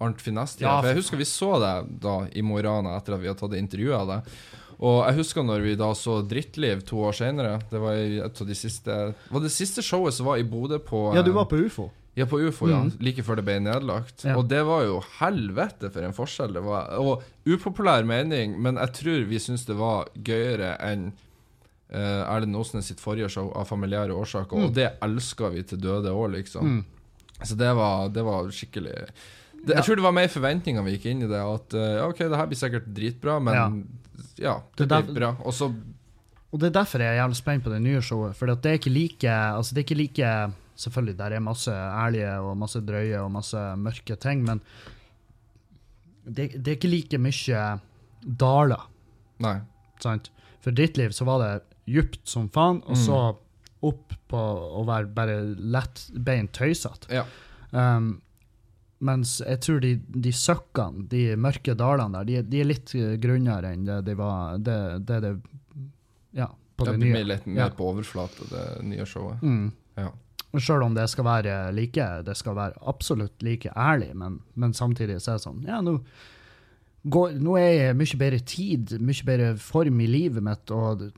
Arnt Finesti. Ja, for jeg husker vi så deg da i Mo i Rana etter at vi hadde tatt intervju av deg. Og jeg husker når vi da så Drittliv to år senere. Det var i et av de siste Var det siste showet som var i Bodø på Ja, du eh, var på ufo. Ja, på ufo, ja. Like før det ble nedlagt. Mm. Ja. Og det var jo helvete for en forskjell det var. Og upopulær mening, men jeg tror vi syns det var gøyere enn eh, Erlend Osnes sitt forrige show av familiære årsaker, Mm. og det elska vi til døde òg, liksom. Så det var, det var skikkelig det, Jeg tror det var mer forventninger vi gikk inn i det, at eh, ja, OK, det her blir sikkert dritbra, men ja, Det det, der- blir bra. Og så Og det er derfor jeg er jævlig spent på det nye showet. For det er ikke like altså det er ikke like, Selvfølgelig, der er masse ærlige og masse drøye og masse mørke ting, men det, det er ikke like mye daler, Nei. sant? For ditt liv så var det djupt som faen, og så opp på å være bare lettbeint tøysete. Ja. Um, mens jeg tror de, de søkkene, de mørke dalene der, de, de er litt eh, grunnere enn det de var Det det, det Ja, på Det det blir nye. mer, litt mer Ja. på overflate, det nye showet. Mm. Ja. Og Selv om det skal være like, det skal være absolutt like ærlig, men, men samtidig så er det sånn Ja, nå, går, nå er jeg mye bedre tid, mye bedre form i livet mitt, og d-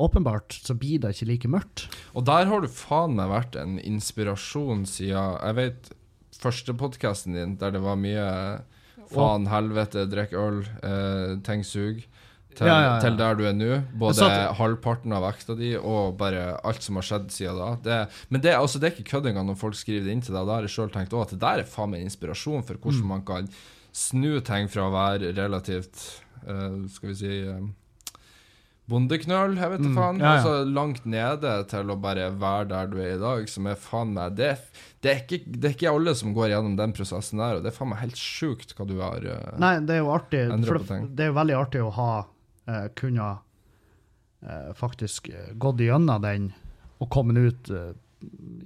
åpenbart så blir det ikke like mørkt. Og der har du faen meg vært en inspirasjon siden Jeg vet første podkasten din, der det var mye faen, helvete, drikk øl, eh, ting sug, til, Ja, ja, ja. til der du er nå. Både Jeg satt- halvparten av vekta di og bare alt som har skjedd siden da. Det, men det, er- altså, det er ikke køddinga når folk skriver det inn til deg. Da har jeg sjøl tenkt òg at det der er faen meg inspirasjon for Mm. hvordan man kan snu ting fra å være relativt eh, Skal vi si eh, Bondeknøl, jeg vet da Mm, faen. ja, ja. Altså langt nede til å bare være der du er i dag, som er faen meg Det, det, er, ikke, det er ikke alle som går gjennom den prosessen der, og det er faen meg helt sjukt hva du har eh, Nei, det er jo artig. Endre For på det, ting. det er jo veldig artig å ha eh, kunne eh, faktisk eh, gått gjennom den og kommet ut eh,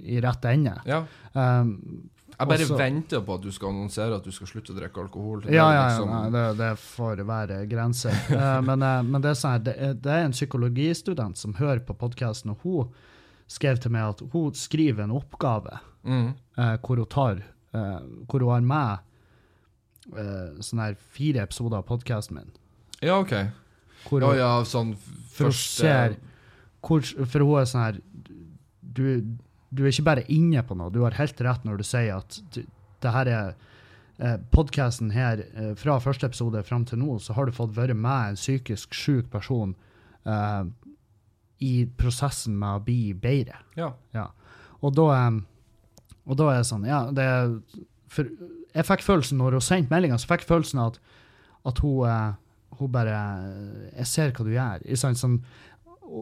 i rett ende. Ja. Um, Jeg bare Også- venter på at du skal annonsere at du skal slutte å drikke alkohol. Det er Ja, ja, liksom- ja nei, det, det får være grenser. Eh, men, eh, men det er sånn her, det, er- det er en psykologistudent som hører på podkasten, og hun skrev til meg at hun skriver en oppgave Mm. eh, hvor hun tar eh, hvor hun har med eh, sånne her fire episoder av podkasten min. ja, OK. Hvor Ja, hun, ja, sånn For hun første ser hvor, For hun er sånn her du, du er ikke bare inne på noe. Du har helt rett når du sier at du, det her er eh, Podkasten her, eh, fra første episode fram til nå, så har du fått være med en psykisk syk person eh, i prosessen med å bli bedre. Ja. Ja. Og da eh, Og da er det sånn, ja, det er For jeg fikk følelsen, når hun sendte meldinga, så fikk jeg følelsen av at, at hun, eh, hun bare eh, Jeg ser hva du gjør. i sånn, sånn,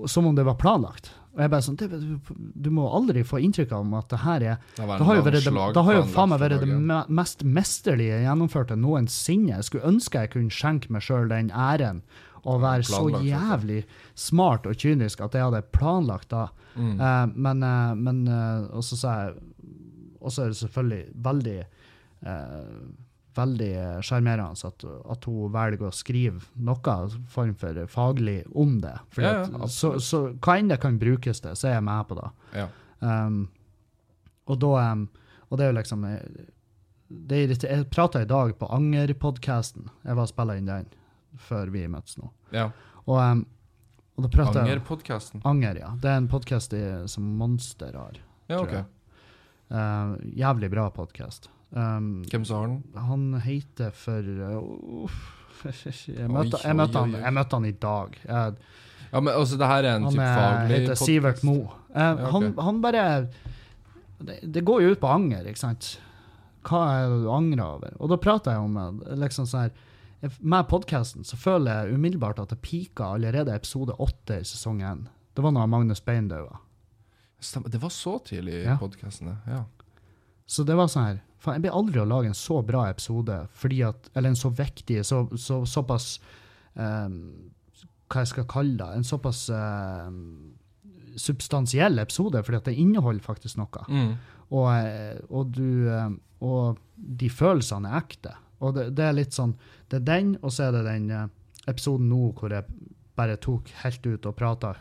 som om det var planlagt. Og jeg bare sånn, det, du, du må aldri få inntrykk av at det her er Det var en Det har jo, lang vært det, det har jo slagplan faen meg der for vært det dagen. me- mest mesterlige gjennomførte noensinne. Jeg skulle ønske jeg kunne skjenke meg sjøl den æren å være så planlagt, jævlig smart og kynisk at jeg hadde planlagt da. Mm. Eh, men eh, men eh, Og så sa jeg Og så er det selvfølgelig veldig eh, Veldig eh, sjarmerende at, at hun velger å skrive noe form for faglig om det. Fordi Ja, ja, at, så, absolutt. så hva enn det kan brukes til, så er jeg med på det. Ja. Um, og da um, Og det er jo liksom eh, det er irriter- Jeg prata i dag på Anger-podkasten. Jeg var og spilla inn den før vi møttes nå. ja. Og, um, og da prata jeg Angerpodkasten. Anger, ja. Det er en podkast som Monster har. Ja, tror OK. jeg. Uh, jævlig bra podkast. Um, Hvem som har den? han heter for uh, uff, jeg, Oi, møtte, oi, jeg, møtte han, oi, oi. jeg møtte han i dag. Jeg, Ja, men altså, det her er en Han type er, faglig heter pod- Sivert Moe. Eh, ok. han, han bare det, det går jo ut på anger, ikke sant? Hva er det du angrer over? Og da prater jeg om eh, liksom sånn her jeg- Med podkasten så føler jeg umiddelbart at det pika allerede i episode åtte i sesong én. Det var når Magnus Bein døde. Stemmer. Det var så tidlig i Ja. podkasten, ja. Så det var sånn her Faen, jeg blir aldri å lage en så bra episode, fordi at, eller en så viktig, så, så, såpass ehm, Hva jeg skal kalle det? En såpass ehm, substansiell episode, fordi at det inneholder faktisk noe. Mm. Og, eh, og du eh, Og de følelsene er ekte. Og det, det er litt sånn Det er den, og så er det den eh, episoden nå hvor jeg bare tok helt ut og prata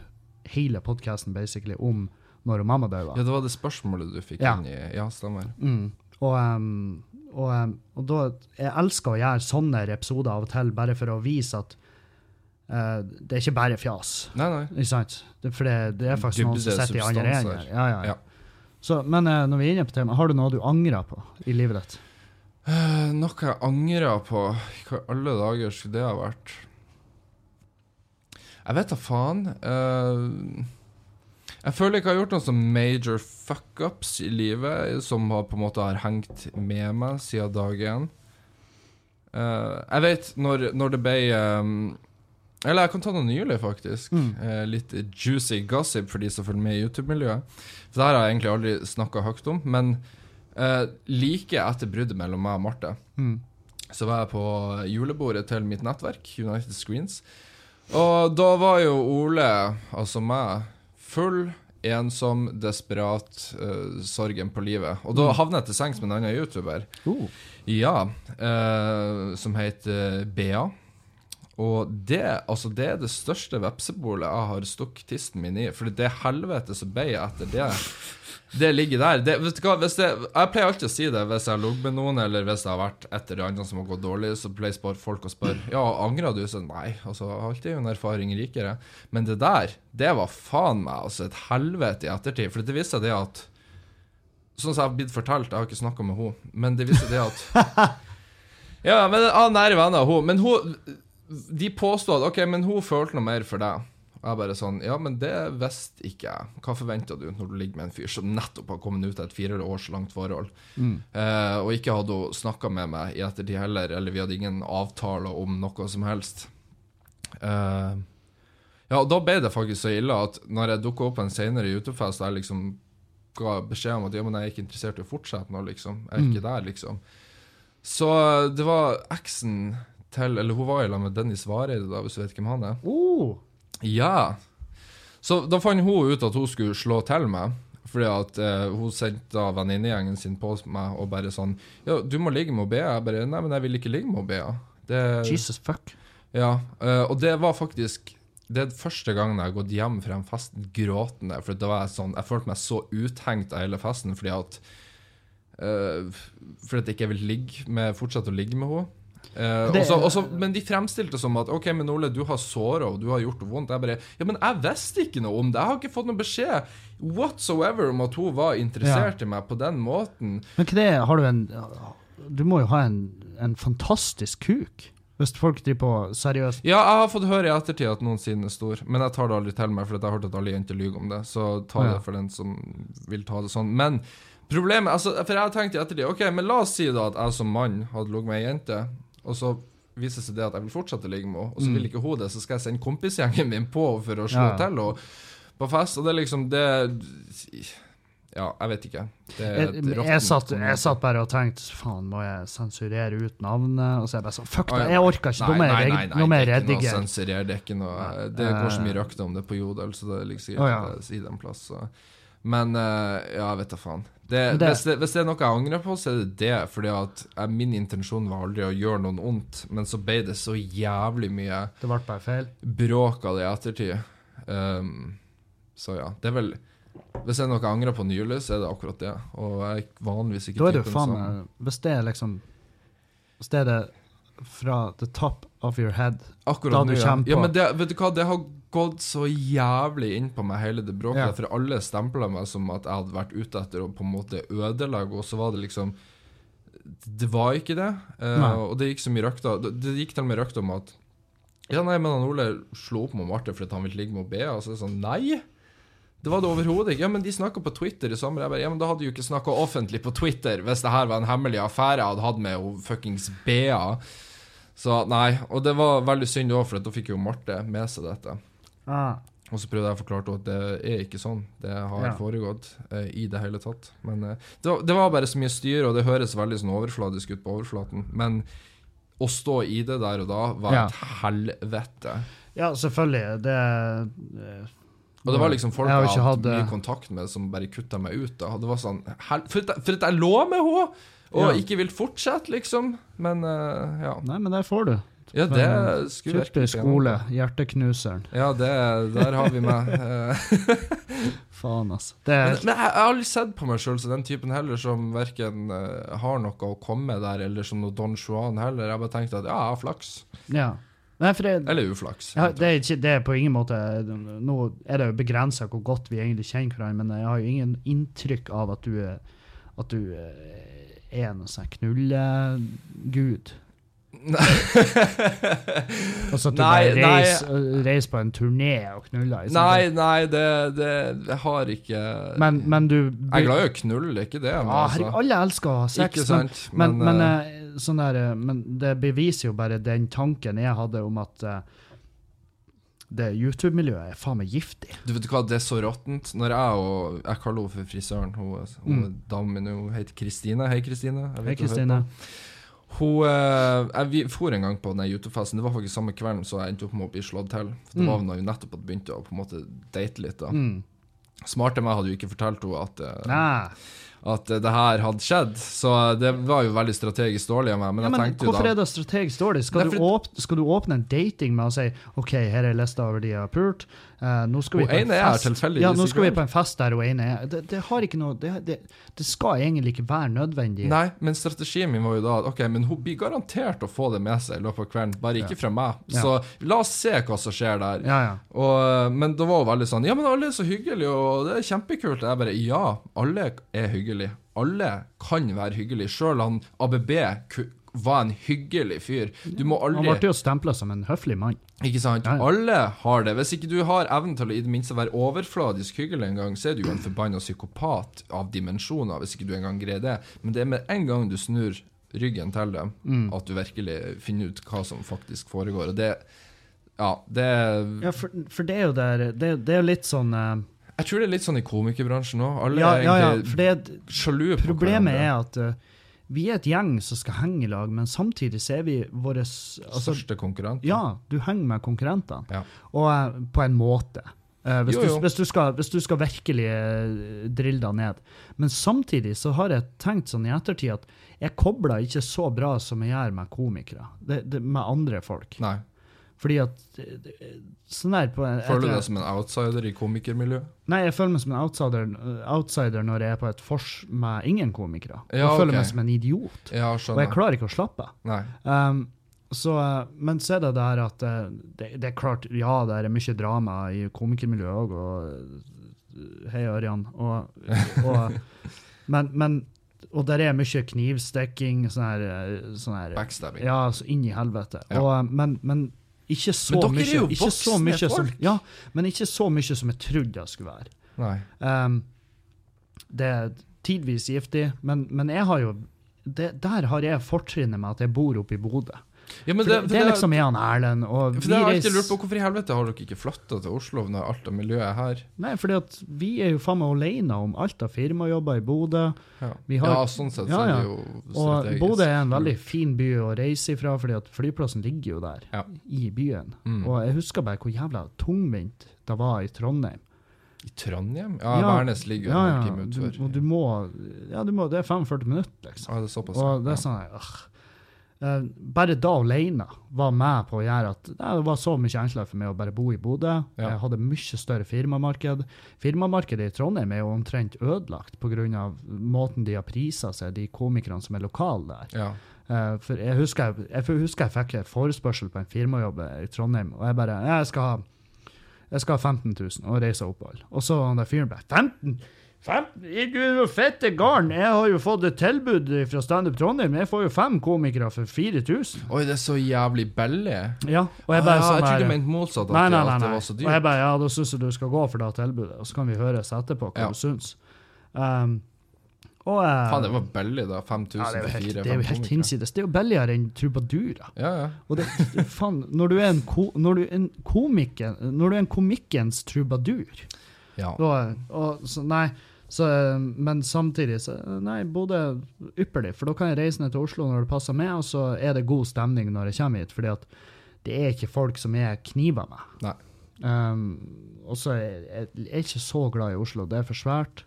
hele podkasten basically om når mamma døde. Ja, det var det spørsmålet du fikk Ja. inn i Ja, stemmer. Mm. Og, em, og, em, og da Jeg elsker å gjøre sånne episoder av og til, bare for å vise at eh, det er ikke bare fjas. Nei, nei. Ikke sant? Det, for det, det er faktisk noen som Dybde, sitter i andre substans enden. her. Ja, ja, Ja. ja. Så, men eh, når vi er inne på temaet, har du noe du angrer på i livet ditt? Eh, noe jeg angrer på Hva i alle dager skulle det ha vært? Jeg vet da faen. Eh, jeg føler ikke jeg har gjort noen sånn major fuckups i livet som har på en måte har hengt med meg siden dag én. Eh, jeg vet når, når det ble eh, Eller jeg kan ta noe nylig, faktisk. Mm. Eh, litt juicy gossip for de som følger med i YouTube-miljøet. For det her har jeg egentlig aldri snakka høyt om. Men eh, like etter bruddet mellom meg og Marte, Mm. så var jeg på julebordet til mitt nettverk, United Screens. Og da var jo Ole, altså meg, full, ensom, desperat, eh, sorgen på livet. Og da havna jeg til sengs med en annen YouTuber, Oh. ja, eh, som heter Bea. Og det, altså det er det største vepsebolet jeg har stukket tisten min i. For det helvete som ble jeg etter det, det ligger der. Det, vet du hva, hvis det, jeg pleier alltid å si det hvis jeg har ligget med noen, eller hvis det har vært et eller annet som har gått dårlig, så pleier spør- folk å spørre Ja, angrer du? Så nei, altså, alt er jo en erfaring rikere. Men det der, det var faen meg altså et helvete i ettertid. For det viste seg det at Sånn som jeg har blitt fortalt, jeg har ikke snakka med henne, men det viste det at Ja, men ah, nære venner av henne. Men hun de påstod at ok, men hun følte noe mer for deg. Og jeg bare sånn Ja, men det visste ikke jeg. Hva forventa du når du ligger med en fyr som nettopp har kommet ut av et fire års langt forhold? Eh, og ikke hadde hun snakka med meg i ettertid heller, eller vi hadde ingen avtaler om noe som helst. Eh, ja, og da ble det faktisk så ille at når jeg dukka opp på en senere YouTube-fest der jeg liksom ga beskjed om at ja, men jeg er ikke interessert i å fortsette nå, liksom. Jeg er ikke der, liksom. Så det var eksen til Eller hun var i lag med Dennis Vareide, da, hvis du vet hvem han er. Oh. Ja. Så da fant hun ut at hun skulle slå til meg. Fordi at eh, hun sendte da venninnegjengen sin på meg og bare sånn Ja, du må ligge med Bea. Jeg bare Nei, men jeg vil ikke ligge med Bea. Det, Jesus fuck. ja, eh, og det var faktisk Det er den første gangen jeg har gått hjem fra en fest gråtende. For da var jeg sånn Jeg følte meg så uthengt av hele festen fordi at eh, Fordi at jeg ikke vil ligge med, fortsette å ligge med henne. Eh, Det- og så- og så- men de fremstilte det som at OK, men Ole, du har såra og du har gjort det vondt. Jeg bare Ja, men jeg visste ikke noe om det. Jeg har ikke fått noen beskjed whatsoever om at hun var interessert i meg på den måten. Men ikke det, har du en Du må jo ha en, en fantastisk kuk, hvis folk driver på seriøst. Ja, jeg har fått høre i ettertid at noensinne er stor, men jeg tar det aldri til meg, for jeg har hørt at alle jenter lyver om det. Så ta Ja. det for den som vil ta det sånn. Men problemet altså, For jeg har tenkt i ettertid OK, men la oss si da at jeg som mann hadde ligget med ei jente, og så viser det seg det at jeg vil fortsette å ligge med henne, og så vil ikke hun det, så skal jeg sende kompisgjengen min på for å slå Mm. Ja. til henne på fest, og det er liksom det Ja, jeg vet ikke. Det er Jeg, et jeg, råttent satt, kommentar. jeg satt bare og tenkte faen, må jeg sensurere ut navnet? Og så er jeg bare sånn fuck Ah, det, ja. jeg orker ikke. Nå må jeg reg- nå må jeg det er ikke noe redigere. sensurere. Det er ikke noe Det Eh. går så mye røkter om det på Jodel, så det er liksom Å, ikke ja. i den plass. Så. Men eh, ja, jeg vet da faen. Det, Men det- hvis, det, hvis det er noe jeg angrer på, så er det det. Fordi at eh, min intensjon var aldri å gjøre noen ondt, men så ble det så jævlig mye Det ble bare feil. bråk av det i ettertid. Ehm, så ja, det er vel Hvis det er noe jeg angrer på nylig, så er det akkurat det. Og jeg er vanligvis ikke Da er det typen jo faen som- meg Hvis det er liksom Hvis det er det fra the top of your head Akkurat Da nå, du ja. kommer på. ja men det, vet du hva, det har gått så jævlig inn på meg, hele det bråket. Ja. For alle stempla meg som at jeg hadde vært ute etter å på en måte ødelegge, og så var det liksom Det var ikke det. Eh, Nei. og det gikk så mye røkter. Det, det gikk til og med røkter om at Ja, nei, men han Ole slo opp med Marte fordi han ville ligge med Bea, og så er det sånn Nei! Det var det overhodet ikke. Ja, men de snakka på Twitter i sommer. Jeg bare, ja, men da hadde de jo ikke snakka offentlig på Twitter hvis det her var en hemmelig affære jeg hadde hatt med hun fuckings Bea. Så nei. Og det var veldig synd òg, for at da fikk jo Marte med seg dette. ah, Og så prøvde jeg å forklare til henne at det er ikke sånn det har Ja. foregått eh, i det hele tatt. Men eh, det, var, det var bare så mye styr, og det høres veldig sånn overfladisk ut på overflaten. Men å stå i det der og da var Ja. et helvete. Ja, selvfølgelig. Det eh, Og det var liksom folk Jeg har jeg jo ikke hadde hatt, eh, mye kontakt med, som bare kutta meg ut. Da. Det var sånn hel for, at, jeg- for at jeg lå med henne! Ja. Og ikke vil fortsette, liksom. Men eh, ja. Nei, men der får du. ja, det skulle Typisk skole. Hjerteknuseren. Ja, det, der har vi meg. Eh, Faen, altså. Det er Men, men jeg, jeg har aldri sett på meg sjøl som den typen heller som verken eh, har noe å komme med der, eller som noe Don Juan heller. Jeg har bare tenkt at ja, jeg har flaks. Ja. Nei, for det, Eller uflaks. Ja, det, er ikke, det er på ingen måte Nå er det jo begrensa hvor godt vi egentlig kjenner hverandre, men jeg har jo ingen inntrykk av at du er, at du eh, er noen sånn knullegud. Altså at du Nei, bare nei. reiser, reiser på en turné og knuller. ikke sant? Nei, nei, det, det Jeg har ikke Men, men du Jeg er glad i å knulle, ikke det, Ja, men herregud, altså alle elsker å ha sex. Ikke men- sant? Men, men, eh, eh, sånn der, eh, men det beviser jo bare den tanken jeg hadde om at eh, det YouTube-miljøet er faen meg giftig. Du vet hva, det er så råttent. Når jeg og Jeg kaller henne for frisøren. Hun, hun damen min hun heter Kristine. Hei, Kristine. Jeg Mm. Hei, vet du hører Kristine. Hun, eh, jeg, vi for en gang på den YouTube-festen. Det var faktisk samme kvelden så jeg endte opp med å bli slått til. For det var da hun nettopp hadde begynt å på en måte date litt. da. Mm. Smarte meg hadde jo ikke fortalt henne at, eh, Nei. at eh, det her hadde skjedd, så eh, det var jo veldig strategisk dårlig av meg. Men Ja, jeg men tenkte jo hvorfor da er det strategisk dårlig? Skal, Nei, du for- åpne, skal du åpne en dating med å si OK, her er lista over de jeg har pult, eh, nå skal vi Hun på en ene er her fest tilfeldigvis Ja, nå i skal vi kveld. på en fest der hun ene er. Det, det har ikke noe det, det, det skal egentlig ikke være nødvendig. Nei, men strategien min var jo da at ok, men hun blir garantert å få det med seg i løpet av kvelden, bare ikke fra meg. Ja. Så la oss se hva som skjer der. Ja, ja. Og, men det var jo veldig sånn Ja, men alle er så hyggelige, og det er kjempekult. Jeg bare Ja, alle er hyggelige. Alle kan være hyggelige. Sjøl han ABB ku- var en hyggelig fyr. Du må Han aldri ble jo stempla som en høflig mann. Ikke sant? Ja, ja. Alle har det. Hvis ikke du har evnen til å i det minste være overfladisk hyggelig en gang, så er du jo en forbanna psykopat av dimensjoner, hvis ikke du engang greier det. Men det er med en gang du snur ryggen til dem, Mm. at du virkelig finner ut hva som faktisk foregår. Og det Ja, det Ja, for, for det er jo der Det, det er jo litt sånn eh, Jeg tror det er litt sånn i komikerbransjen òg. Alle Ja, er ja, ja. egentlig For det, sjalu på problemet hverandre. er at eh, vi er et gjeng som skal henge i lag, men samtidig så er vi våre altså, Største konkurrent. Ja, du henger med konkurrentene. Ja. Og eh, på en måte. Eh, hvis, Jo, jo. Du, hvis, du skal, hvis du skal virkelig eh, drille deg ned. Men samtidig så har jeg tenkt sånn i ettertid at jeg kobler ikke så bra som jeg gjør med komikere. Det, det, med andre folk. Nei. Fordi at eh, det- sånn der på jeg Føler du tror- deg som en outsider i komikermiljøet? Nei, jeg føler meg som en outsider, eh, outsider når jeg er på et vors med ingen komikere. Jeg Ja, føler ok. meg som en idiot. Ja, Og jeg skjønner. klarer ikke å slappe av. Nei. Um, så, eh, men så er det det her at eh, det, det er klart, ja, det er mye drama i komikermiljøet òg, og eh, Hei, Ørjan. Og, og, men, men Og der er mye knivstikking, sånn her, eh, sånn her Backstabbing. Ja, så inn i helvete. Ja. Og, eh, men, men ikke så Men dere mye er jo ikke så voksne mye som, folk. ja, Men ikke så mye som jeg trodde jeg skulle være. Nei. Um, det er tidvis giftig, men, men jeg har jo det, Der har jeg fortrinnet med at jeg bor oppe i Bodø. Ja, For det, men det, for det er liksom jeg og Erlend og for det har jeg alltid lurt på, Hvorfor i helvete har dere ikke flytta til Oslo når alt av miljøet er her? Nei, fordi at vi er jo faen meg alene om alt av firmajobber i Bodø. Ja, Vi har- ja sånn sett Ja, så er ja. det jo Og strategisk. Bodø er en veldig fin by å reise ifra, fordi at flyplassen ligger jo der, Ja. i byen. Mm. Og jeg husker bare hvor jævla tungvint det var i Trondheim. I Trondheim? Ja, Ja, Værnes ligger jo Ja, en ja, time du, utfor. og du må, ja, du må Det er 45 minutter, liksom. Ja, det er såpass. Og det er ja. sånn her, «Åh». Eh, Bare da alene var med på å gjøre at nei, det var så mye enklere for meg å bare bo i Bodø. Ja. Jeg hadde mye større firmamarked. Firmamarkedet i Trondheim er jo omtrent ødelagt pga. måten de har prisa seg, de komikerne som er lokale der. ja. Eh, For jeg husker jeg, jeg husker jeg fikk en forespørsel på en firmajobb i Trondheim, og jeg bare Jeg skal ha, jeg skal ha 15 000 og reise og opphold. Og så han der fyren bare 15 15? Er Du er jo fette garn! Jeg har jo fått et tilbud fra Standup Trondheim. Jeg får jo fem komikere for 4000. Oi, det er så jævlig billig. Ja, og Ah, jeg bare ja, jeg sånn trodde du her, mente motsatt, at, Nei, det- nei, nei. at det nei. var så Og dyrt. jeg bare, ja, da syns jeg du skal gå for det tilbudet, og så kan vi høres etterpå hva Ja. du syns. Um, Og, eh, Faen, det var billig, da. 5000 ja, det er jo for helt, fire. det er jo fem helt komikere. hinsides. Det er jo billigere enn trubadurer. Ja, ja. Og det, faen, når du er en, ko, når du er en komiker Når du er en komikkens trubadur ja. da, og, så, Nei, så, men samtidig så, Nei, Bodø ypperlig, for da kan jeg reise ned til Oslo når det passer meg, og så er det god stemning når jeg kommer hit, fordi at det er ikke folk som er kniver meg. Nei. Um, og så er jeg, jeg er ikke så glad i Oslo, det er for svært.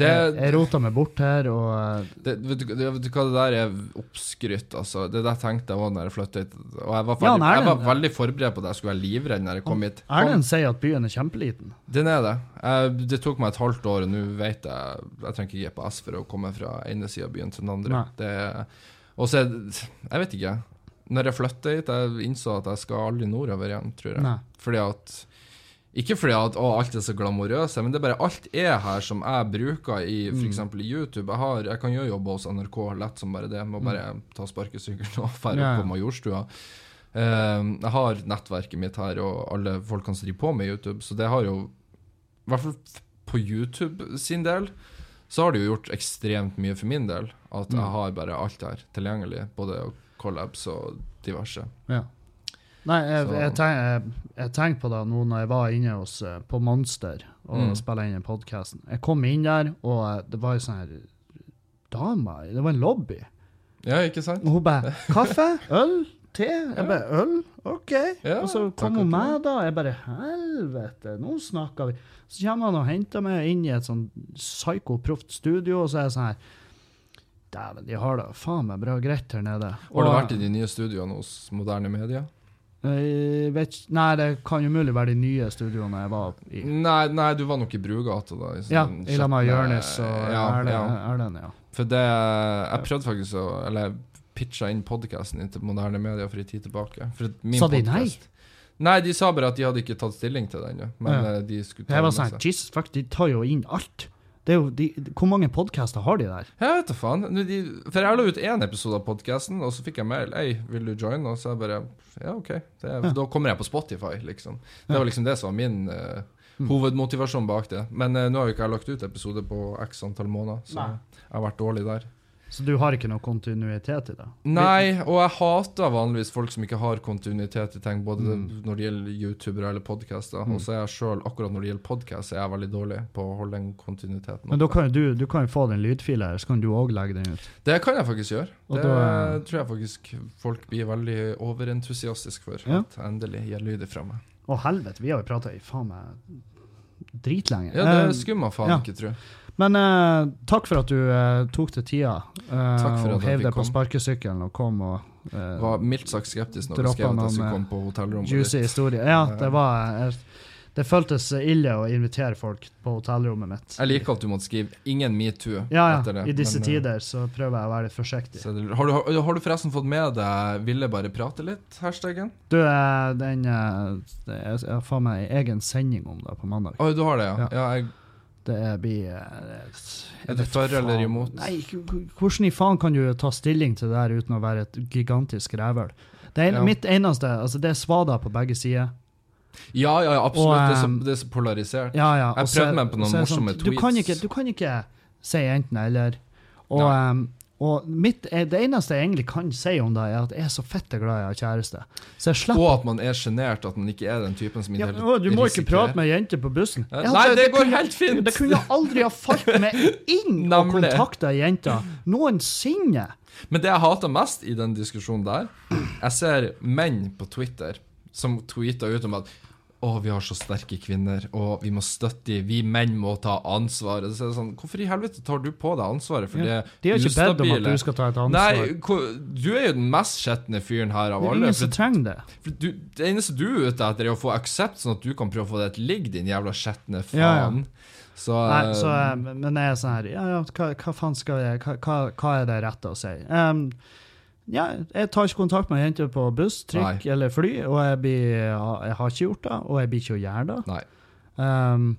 Det, jeg jeg rota meg bort her, og eh, det, vet, du, det- vet du hva, det der er oppskrytt, altså. Det der tenkte jeg òg da jeg flyttet hit. Og jeg var, Ja, ferdig, nei, jeg var det- veldig forberedt på at jeg skulle være livredd når jeg kom hit. Erlend sier at byen er kjempeliten. Den er det. Jeg, det tok meg et halvt år, og nå vet jeg Jeg trenger ikke GPS for å komme fra ene sida av byen til den andre. Nei. Det, og så er det Jeg vet ikke. Når jeg flytta hit, jeg innså at jeg skal aldri nordover igjen, tror jeg. Nei. Fordi at Ikke fordi at å, alt er så glamorøse, men det er bare alt er her som jeg bruker i Mm. f.eks. i YouTube. Jeg, har, jeg kan gjøre jobb hos NRK lett som bare det, må bare ta sparkesykkelen og dra Mm. Ja, ja. på Majorstua. Ehm, jeg har nettverket mitt her, og alle folkene som driver på med YouTube, så det har jo I hvert fall f- på YouTube sin del, så har det jo gjort ekstremt mye for min del. At Mm. jeg har bare alt her tilgjengelig, både collabs og diverse. Ja. Nei, jeg, Så- jeg, tenk, jeg, jeg tenker på det nå når jeg var inne hos, eh, på Monster og Mm. spilte inn den podkasten. Jeg kom inn der, og eh, det var ei sånn her dame Det var en lobby. Ja, ikke sant? Og hun bare 'Kaffe? Øl? Te?' Jeg bare 'Øl? OK'. Ja, og så takk kom hun og med, da. Jeg bare 'Helvete, nå snakker vi'. Så kommer han og henter meg inn i et sånn psykoproft studio, og så er jeg sånn her Dæven, de har det faen meg bra greit her nede. Har du Og- vært i de nye studioene hos Moderne Media? Eh, Jeg vet, ikke- nei, det kan jo mulig være de nye studioene jeg var i. Nei, nei, du var nok i Brugata da. i Ja, sånn i lag med skjetne- Jonis og Erlend. Erlend, ja. For Eh, det Jeg prøvde faktisk å Eller jeg pitcha inn podkasten din til Moderne Media for en tid tilbake. For at min Sa de podcast- Nei, de sa bare at de hadde ikke tatt stilling til den. Ja. Men Ja. eh, de skulle ta Jeg var den med sånn, seg. Jesus fuck, de tar jo inn alt. Det er jo, de, hvor mange podcaster har de der? Jeg vet da faen. Nå, de, for jeg la ut én episode av podkasten, og så fikk jeg mail. Ei, vil du joine? Og så jeg bare Ja, OK. Det, Da kommer jeg på Spotify, liksom. Det var liksom det som var min eh, hovedmotivasjon bak det. Men eh, nå har jo ikke jeg lagt ut episode på x antall måneder, så Nei. jeg har vært dårlig der. Så du har ikke noe kontinuitet i det? Nei, og jeg hater vanligvis folk som ikke har kontinuitet i ting, både når det gjelder youtubere eller podcaster. Og så er jeg selv, akkurat når det gjelder podkast, er jeg veldig dårlig på å holde den kontinuiteten. Men da kan jo du, du kan jo få den lydfila her, så kan du òg legge den ut. Det kan jeg faktisk gjøre. Og det da- tror jeg faktisk folk blir veldig overentusiastiske for. Ja. At jeg endelig gir lyd ifra meg. Å helvete, vi har jo prata i faen meg dritlenge. Ja, det Eh, skulle man faen ja. ikke tro. Men eh, takk for at du eh, tok deg tida eh, Takk for at og jeg heiv fikk deg på sparkesykkelen og kom og eh, Var mildt sagt skeptisk når du Droppa skrev at noen, jeg skulle eh, komme på hotellrommet Juicy ditt. historie. Ja, det var jeg- Det føltes ille å invitere folk på hotellrommet mitt. Jeg liker at du måtte skrive 'ingen metoo' ja, etter ja. det. I disse men, eh, tider så prøver jeg å være litt forsiktig. så det- har, du, har, har du forresten fått med deg 'ville bare prate litt'? Hashtaggen? Du, eh, den eh, det er- Jeg har faen meg en egen sending om det på mandag. Oi, du har det, ja. Ja. ja. jeg, Det er- blir eh, jeg Er du vet for faen. eller imot? Nei, k- k- hvordan i faen kan du ta stilling til det der uten å være et gigantisk rævhøl? Det en, Ja. Mitt eneste altså Det er svader på begge sider. ja, ja, ja, absolutt. Og, det, er så, ehm, det er så polarisert. Ja, ja. Jeg og så- prøvde meg på noen så er det sånn, morsomme Du kan tweets. ikke, du kan ikke si enten eller. Og, Nei. em, og mitt, eh, det eneste jeg egentlig kan si om det, er at jeg er så fette glad jeg har kjæreste. Så jeg slipper Og at man er sjenert, at man ikke er den typen som ja, hele- å, Du må ikke risikerer- prate med jenter på bussen. Eh, Jeg Nei, hadde- det går kunne- helt fint! Det kunne aldri ha falt meg inn å Nemlig. kontakte ei jente noensinne. Men det jeg hater mest i den diskusjonen der, jeg ser menn på Twitter som tweeter ut om at å, vi har så sterke kvinner, og vi må støtte dem, vi menn må ta ansvaret. Så er det sånn, Hvorfor i helvete tar du på deg ansvaret for Ja, det de har ikke bedt om at ustabile? du skal ta et ansvar. Nei, hvor- du er jo den mest skjetne fyren her av Det er alle. ingen For som trenger det. For du, det eneste du er ute etter, er å få aksept, sånn at du kan prøve å få det til å ligge, din jævla skjetne faen. Ja, ja. Så, Nei, så, eh, men jeg er sånn her Ja, ja, hva, hva faen skal jeg hva, hva- hva er det rette å si? Em, ja, jeg tar ikke kontakt med jenter på buss, trikk eller fly, og jeg, blir, jeg har ikke gjort det, og jeg blir ikke å gjøre det. Nei. Em,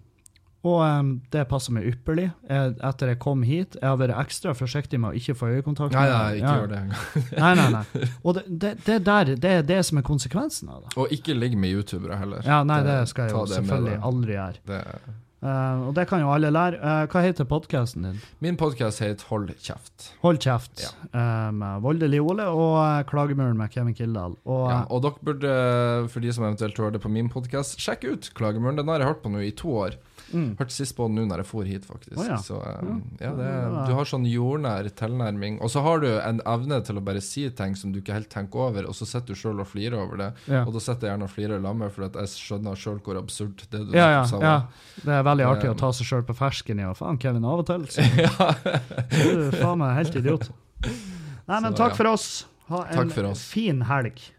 og em, det passer meg ypperlig. Jeg, etter jeg kom hit, jeg har vært ekstra forsiktig med å ikke få øyekontakt. Nei, med- nei, ikke ja. gjør det engang. Nei, nei, nei. Og det, det, det der, det er det som er konsekvensen av det. Og ikke ligg med youtubere heller. Ja, nei, det skal jeg ta jo det med selvfølgelig deg. aldri gjøre. Det, Eh, og det kan jo alle lære. Eh, hva heter podkasten din? Min podkast heter Hold kjeft. Hold kjeft eh, med Voldelig Ole og eh, Klagemuren med Kevin Kildahl. Og eh, Ja, og dere burde, eh, for de som eventuelt hører det på min podkast, sjekke ut Klagemuren. Den har jeg hørt på nå i to år. Mm. Hørte sist på den nå når jeg for hit, faktisk. Å ja. Så um, ja, Ja, det, det var- du har sånn jordnær tilnærming. Og så har du en evne til å bare si ting som du ikke helt tenker over, og så sitter du sjøl og flirer over det. ja. Og da sitter jeg gjerne og flirer sammen, for at jeg skjønner sjøl hvor absurd det du Ja, ja, nettopp sa ja. var. Det er veldig artig Um, å ta seg sjøl på fersken i og faen, Kevin, av og til. Så, du er faen meg helt idiot. Nei, men Så, ja. takk for oss. Ha Takk en for oss. fin helg.